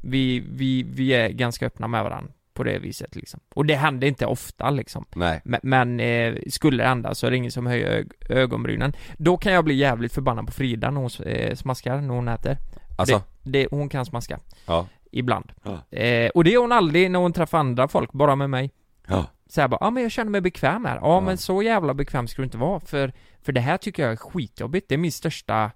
S3: vi, vi, vi är ganska öppna med varandra på det viset liksom. Och det händer inte ofta liksom.
S1: Nej,
S3: Men, men eh, skulle det hända så är det ingen som höjer ög- ögonbrynen. Då kan jag bli jävligt förbannad på Frida när hon eh, smaskar, när hon äter.
S1: alltså,
S3: Det, hon kan smaska.
S1: Ja.
S3: Ibland.
S1: Ja.
S3: Eh, och det är hon aldrig när hon träffar andra folk, bara med mig.
S1: ja,
S3: Så här bara, ja ah, men jag känner mig bekväm här. Ja,
S1: Ja.
S3: men så jävla bekväm ska du inte vara. För, för det här tycker jag är skitjobbigt. Det är min största...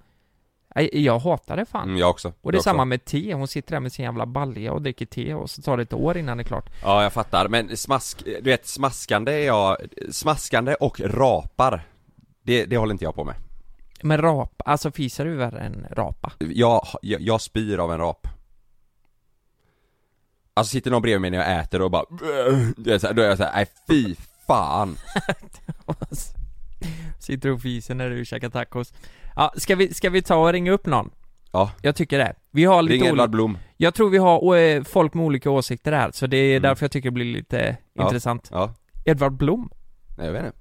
S3: Nej, Jag hatar det fan.
S1: mm, jag också
S3: Och det är
S1: jag
S3: samma
S1: också.
S3: med te. Hon sitter där med sin jävla balja och dricker te och så tar det ett år innan det är klart.
S1: Ja jag fattar, men smask, du vet smaskande är jag, smaskande och rapar det, det håller inte jag på med
S3: Men rap, alltså fisar du värre än rapa?
S1: jag, jag, jag spyr av en rap Alltså sitter någon bredvid mig när jag äter och bara du vet, så här, Då är jag såhär, nej fy fan
S3: Sitter och fiser när du käkar tacos. Ja, ska vi, ska vi ta och ringa upp någon?
S1: Ja.
S3: Jag tycker det. Vi har
S1: Ring
S3: lite
S1: Edvard
S3: olika,
S1: Blom
S3: Jag tror vi har eh, folk med olika åsikter här, så det är
S1: Mm.
S3: därför jag tycker det blir lite
S1: Ja.
S3: intressant.
S1: Ja,
S3: Edvard Blom?
S1: nej, jag vet inte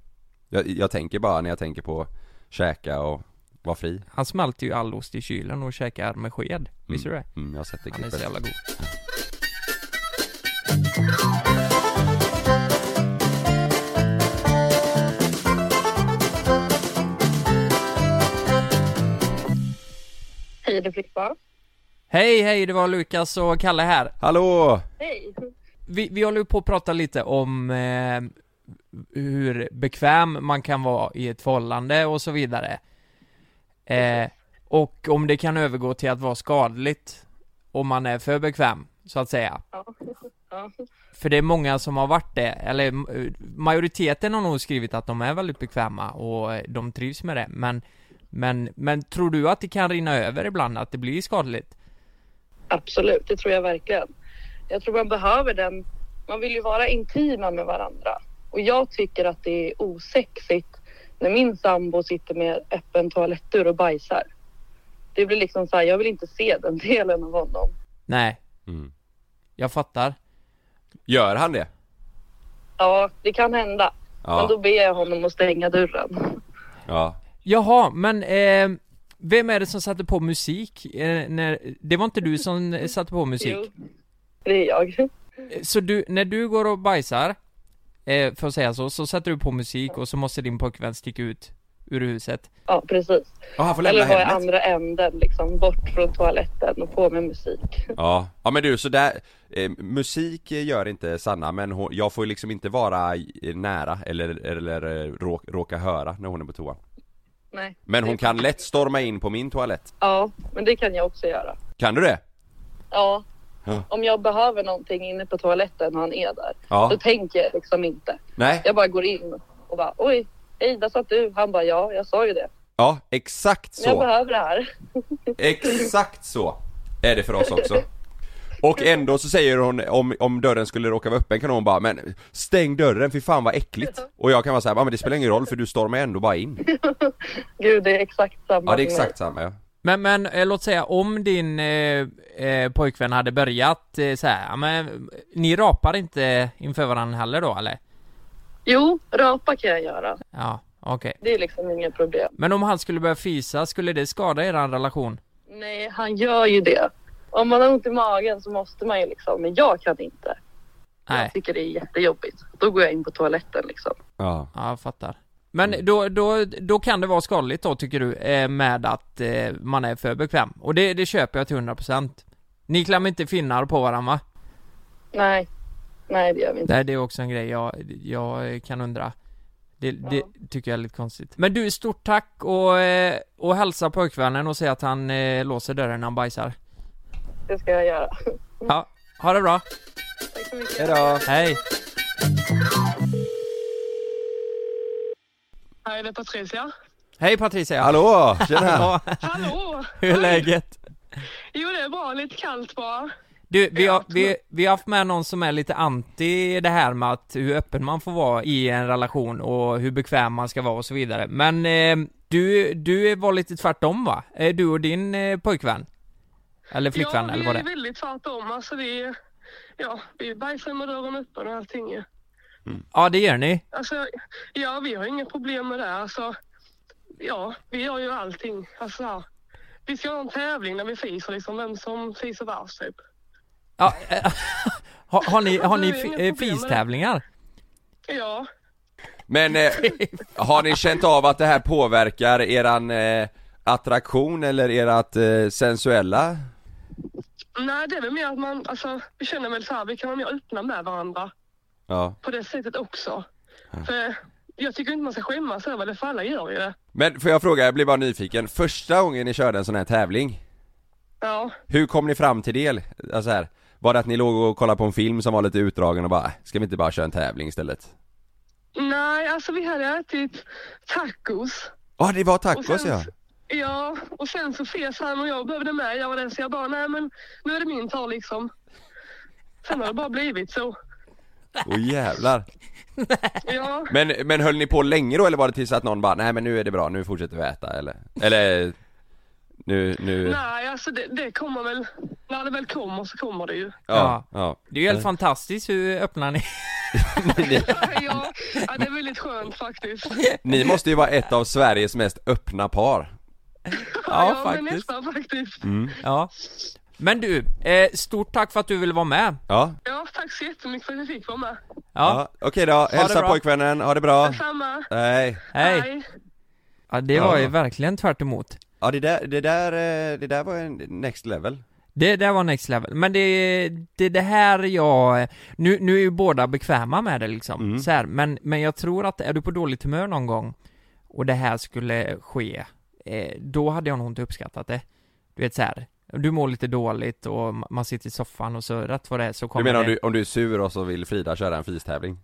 S1: jag, jag tänker bara när jag tänker på käka och vara fri
S3: Han smälter ju all ost i kylen och käkar med sked. Visste du det?
S1: mm, Jag har sett det
S3: Han är så
S1: klippet
S3: jävla god.
S5: Hej, det är Filippa.
S3: Hej, hej, det var Lukas och Kalle här.
S1: Hallå!
S5: Hej.
S3: vi, vi håller ju på att prata lite om eh, hur bekväm man kan vara i ett förhållande och så vidare. Eh, och om det kan övergå till att vara skadligt om man är för bekväm, så att säga.
S5: Ja. Ja.
S3: För det är många som har varit det, eller eh, majoriteten har nog skrivit att de är väldigt bekväma och eh, de trivs med det, men men, men tror du att det kan rinna över ibland, att det blir skadligt?
S5: Absolut, det tror jag verkligen. Jag tror man behöver den. Man vill ju vara intima med varandra. Och jag tycker att det är osexigt när min sambo sitter med öppen toalettdörr och bajsar. Det blir liksom så här, jag vill inte se den delen av honom.
S3: Nej,
S1: Mm.
S3: jag fattar.
S1: Gör han det?
S5: Ja, det kan hända. Men då
S1: Ja,
S5: ber jag honom att stänga dörren.
S1: ja.
S3: Jaha, men eh, vem är det som satte på musik? Eh, när, det var inte du som eh, satte på musik?
S5: Jo, det är jag.
S3: Eh, Så du, när du går och bajsar, eh, för att säga så, så sätter du på musik och så måste din pojkvän sticka ut ur huset?
S5: Ja, precis.
S1: Ja, han får lämna
S5: Eller vara i
S1: hemmet?
S5: andra änden, liksom bort från toaletten och på med musik.
S1: Ja, ja men du sådär, eh, musik gör inte Sanna men hon, jag får ju liksom inte vara i- nära eller, eller eh, råk, råka höra när hon är på toa
S5: Nej.
S1: Men hon kan lätt storma in på min toalett,
S5: Ja, men det kan jag också göra.
S1: kan du det?
S5: Ja.
S1: Ja.
S5: Om jag behöver någonting inne på toaletten och han är där,
S1: Ja.
S5: då tänker jag liksom inte.
S1: Nej?
S5: Jag bara går in och bara oj, hej där satt du. Han bara ja, jag sa ju det.
S1: Ja, exakt
S5: Men jag
S1: så!
S5: behöver det här.
S1: Exakt så! Är det för oss också Och ändå så säger hon, om, om dörren skulle råka vara öppen kan hon bara 'Men stäng dörren, fy fan vad äckligt' Och jag kan vara såhär, ja men det spelar ingen roll för du stormar ändå bara in
S5: Gud, det är exakt samma.
S1: Ja det är
S5: med
S1: exakt samma ja
S3: Men, men eh, låt säga om din eh, eh, pojkvän hade börjat eh, så här, ja, men eh, ni rapar inte inför varandra heller då eller?
S5: mig. Jo, rapa kan jag göra.
S3: Ja, okej.
S5: Det är liksom inget problem.
S3: Men om han skulle börja fisa, skulle det skada er relation?
S5: Nej, han gör ju det. Om man har ont i magen så måste man ju liksom, men jag kan inte.
S3: Nej,
S5: Jag tycker det är jättejobbigt. Då går jag in på toaletten liksom.
S1: Ja,
S3: ja, jag fattar. Men då, då, då kan det vara skadligt då tycker du, eh, med att eh, man är för bekväm. Och det, det köper jag till 100%. Ni klämmer inte finnar på varandra va?
S5: Nej, nej det gör vi inte.
S3: Nej, det är också en grej jag, jag kan undra. Det, det tycker jag är lite konstigt. Men du, stort tack och, eh, och hälsa pojkvännen och säg att han eh, låser dörren när han
S5: Mm.
S3: bajsar.
S5: Det ska jag göra.
S3: Ja, ha det bra.
S5: Tack så mycket.
S1: hejdå!
S3: Hej.
S5: Hej, det är Patricia.
S3: Hej Patricia.
S1: Hallå! Tjena!
S5: Hallå!
S3: Hur är läget?
S5: Jo, det är bra. Lite kallt bara.
S3: Du, vi har, vi, vi har haft med någon som är lite anti det här med att hur öppen man får vara i en relation och hur bekväm man ska vara och så vidare. Men eh, du, du var lite tvärtom va? Eh, Du och din eh, pojkvän? Eller flickvän
S5: ja,
S3: eller vad det
S5: Ja,
S3: är.
S5: vi är väldigt tvärtom. Alltså vi, ja, vi bajsar med dörren öppen och allting ju.
S3: Ja det gör ni.
S5: Alltså, ja, vi har inga problem med det. Alltså, ja, vi gör ju allting. Alltså, ja. vi ska ha en tävling när vi fiser, liksom, vem som fiser värst typ.
S3: Ja, eh, har, har ni, har ni
S5: Det är
S3: fi-
S5: inga
S3: eh,
S5: problem med det.
S3: fistävlingar?
S5: Ja,
S1: Men eh, har ni känt av att det här påverkar eran eh, attraktion eller erat eh, sensuella?
S5: nej det är väl mer att man, alltså, vi känner väl så här, vi kan vara mer öppna med varandra
S1: Ja.
S5: på det sättet också. För jag tycker inte man ska skämmas över det, för alla gör ju det.
S1: Men får jag fråga, jag blir bara nyfiken. Första gången ni körde en sån här tävling,
S5: Ja,
S1: hur kom ni fram till det? Alltså här, var det att ni låg och kollade på en film som var lite utdragen och bara, "Äh, ska vi inte bara köra en tävling istället?
S5: nej, alltså vi hade ätit tacos.
S1: Ja, det var
S5: Och
S1: tacos
S5: sen-
S1: ja.
S5: Ja, och sen så fes han och jag behövde med. Jag var den så jag bara, nej men nu är det min tur liksom. Sen har det bara blivit så.
S1: Åh jävlar.
S5: Ja,
S1: Men, men höll ni på länge då eller var det tills att någon bara, nej men nu är det bra, nu fortsätter vi äta eller? Eller, nu, nu,
S5: nej alltså det, det kommer väl, när det väl kommer så kommer det ju.
S1: ja, Eh. ja.
S3: Det är ju helt fantastiskt hur öppna ni
S5: Ja, ja det är väldigt skönt faktiskt.
S1: Ni måste ju vara ett av Sveriges mest öppna par.
S3: Ja,
S5: men
S3: faktiskt.
S5: nästan faktiskt.
S3: Ja. Men du, eh, stort tack för att du ville vara med.
S1: Ja,
S5: Ja, tack så jättemycket för att jag fick vara med.
S1: ja.
S3: Ja,
S1: okej då, hälsa
S3: bra.
S1: pojkvännen, ha det bra.
S5: Detsamma.
S1: Nej.
S3: hej. Ja, det var ju
S1: Ja.
S3: verkligen tvärt emot.
S1: Ja det där, det där, eh, det där var en next level.
S3: Det där var next level, men det, det, det här jag, nu, nu är ju båda bekväma med det liksom,
S1: Mm.
S3: så här, men, men jag tror att är du på dåligt humör någon gång och det här skulle ske, eh, då hade jag nog inte uppskattat det. Du vet så här, du mår lite dåligt och ma- man sitter i soffan och så rätt vad det är så
S1: Du
S3: kommer
S1: menar om
S3: det...
S1: du, om du är sur och så vill Frida köra en freestävling?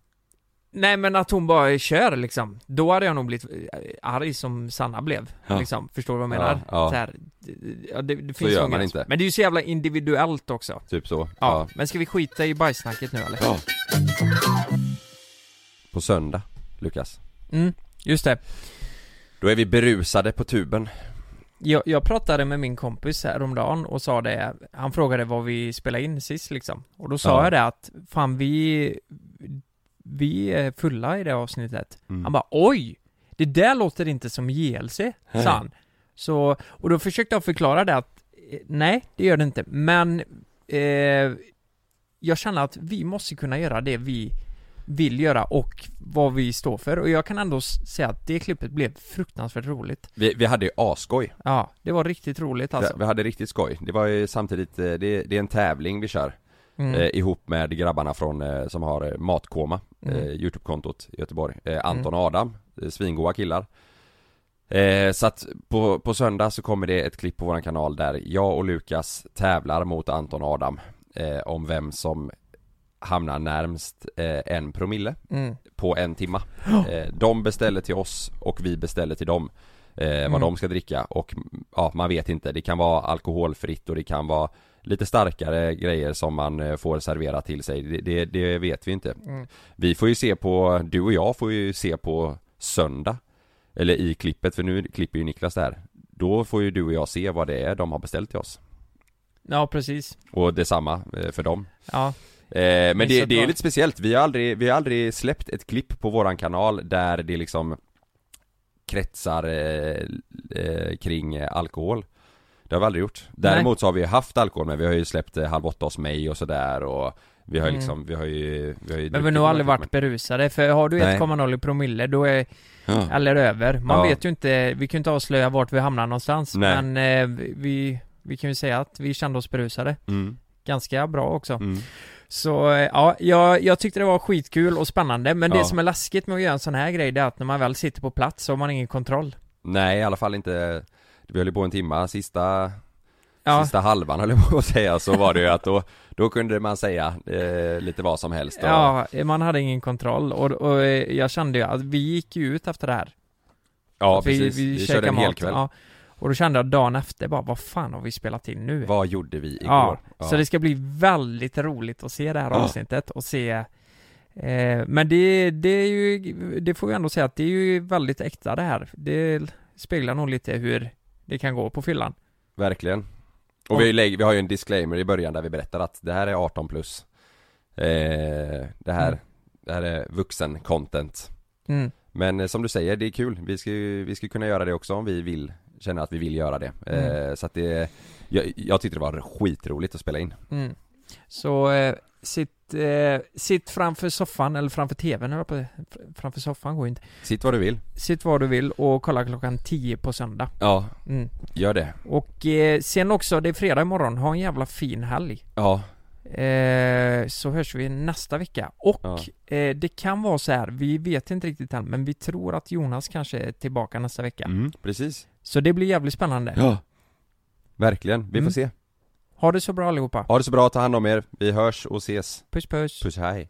S3: Nej men att hon bara kör liksom, då hade jag nog blivit eh, arg som Sanna blev,
S1: Ja.
S3: liksom, förstår du vad jag menar?
S1: Ja, ja.
S3: Så här, d- ja, det, det finns
S1: gör
S3: nog
S1: man
S3: gränser.
S1: inte.
S3: Men det är ju så jävla individuellt också.
S1: Typ så?
S3: Ja, men ska vi skita i bajsnacket nu eller?
S1: Ja. På söndag, Lukas.
S3: Mm, just det.
S1: Då är vi berusade på tuben.
S3: Jag, jag pratade med min kompis häromdagen och sa det, han frågade vad vi spelade in sist liksom. Och då sa
S1: Ja.
S3: jag det att, fan vi, vi är fulla i det avsnittet.
S1: Mm.
S3: Han bara, oj! Det där låter inte som JLC, sa han. Så, och då försökte jag förklara det att, eh, nej det gör det inte, men eh, jag känner att vi måste kunna göra det vi vill göra och vad vi står för. Och jag kan ändå s- säga att det klippet blev fruktansvärt roligt.
S1: Vi, vi hade ju asskoj.
S3: Ja, det var riktigt roligt alltså.
S1: Vi hade riktigt skoj. Det var ju samtidigt, eh, det, det är en tävling vi kör.
S3: Mm.
S1: eh, ihop med grabbarna från, eh, som har eh, Matkoma, eh,
S3: Mm.
S1: Youtube-kontot i Göteborg. Eh, Anton och Adam, eh, svingoa killar. Eh, så att på, på söndag så kommer det ett klipp på våran kanal där jag och Lukas tävlar mot Anton och Adam eh, om vem som hamnar närmst eh, en promille
S3: Mm.
S1: på en timma. Eh, de beställer till oss och vi beställer till dem eh, vad
S3: Mm.
S1: de ska dricka och mm, ja, man vet inte. Det kan vara alkoholfritt och det kan vara lite starkare grejer som man eh, får servera till sig. Det, det, det vet vi inte.
S3: Mm.
S1: Vi får ju se på, du och jag får ju se på söndag eller i klippet, för nu klipper ju Niklas det här. Då får ju du och jag se vad det är de har beställt till oss.
S3: Ja, precis.
S1: Och detsamma eh, för dem.
S3: Ja.
S1: Eh, men det,
S3: Missat
S1: det är
S3: vad?
S1: lite speciellt, vi har, aldrig, vi har aldrig släppt ett klipp på våran kanal där det liksom kretsar eh, eh, kring eh, alkohol Det har vi aldrig gjort. Däremot så har vi haft alkohol men vi har ju släppt eh, Halv åtta hos mig och sådär och vi har ju
S3: Mm.
S1: liksom, vi har ju, vi har ju
S3: Men vi har
S1: druckit
S3: nog
S1: några
S3: aldrig
S1: klipp,
S3: varit berusade, för har du
S1: Nej.
S3: 1,0 i promille då är,
S1: men- Ja.
S3: eller över. Man
S1: Ja.
S3: vet ju inte, vi kan ju inte avslöja vart vi hamnar någonstans.
S1: Nej.
S3: Men eh, vi- vi, vi kan ju säga att vi kände oss berusade.
S1: Mm,
S3: Ganska bra också.
S1: mm.
S3: Så eh, ja, jag, jag tyckte det var skitkul och spännande. Men det
S1: Ja.
S3: som är läskigt med att göra en sån här grej, det är att när man väl sitter på plats så har man ingen kontroll.
S1: Nej i alla fall inte, vi höll ju på en timma, sista
S3: Ja,
S1: Sista halvan höll jag på att säga så var det ju att då, då kunde man säga eh, lite vad som helst och,
S3: ja eh, man hade ingen kontroll. Och, och eh, jag kände ju att vi gick ju ut efter det här.
S1: ja
S3: vi,
S1: precis, vi,
S3: käkade
S1: körde en hel
S3: mat,
S1: kväll
S3: Ja. Och då kände jag dagen efter bara, vad fan har vi spelat in nu?
S1: Vad gjorde vi igår?
S3: ja,
S1: Ja.
S3: Så det ska bli väldigt roligt att se det här
S1: Ja.
S3: avsnittet och se eh, Men det, det är ju, det får jag ändå säga att det är ju väldigt äkta det här. Det speglar nog lite hur det kan gå på fyllan.
S1: Verkligen. Och vi, lägger, vi har ju en disclaimer i början där vi berättar att det här är 18 plus. Eh, det, här,
S3: Mm.
S1: det här är vuxen content.
S3: Mm.
S1: Men eh, som du säger, det är kul. Vi ska, ju- vi ska kunna göra det också om vi vill, känner att vi vill göra det.
S3: Mm.
S1: Eh, så att det, jag, jag tyckte det var skitroligt att spela in.
S3: Mm. Så eh, sitt, eh, sitt framför soffan, eller framför tvn, eller på, framför soffan går ju inte.
S1: Sitt vad du vill.
S3: Sitt var du vill och kolla klockan 10 på söndag.
S1: Ja,
S3: Mm.
S1: gör det.
S3: Och eh, sen också, det är fredag imorgon, ha en jävla fin helg.
S1: Ja,
S3: Eh, så hörs vi nästa vecka. Och
S1: Ja.
S3: eh, det kan vara så här, vi vet inte riktigt än, men vi tror att Jonas kanske är tillbaka nästa vecka.
S1: mm, precis.
S3: Så det blir jävligt spännande.
S1: Ja. Verkligen. Vi
S3: Mm.
S1: får se.
S3: Ha det så bra allihopa.
S1: Ha det så bra, ta hand om er. Vi hörs och ses.
S3: Puss puss.
S1: Puss hej.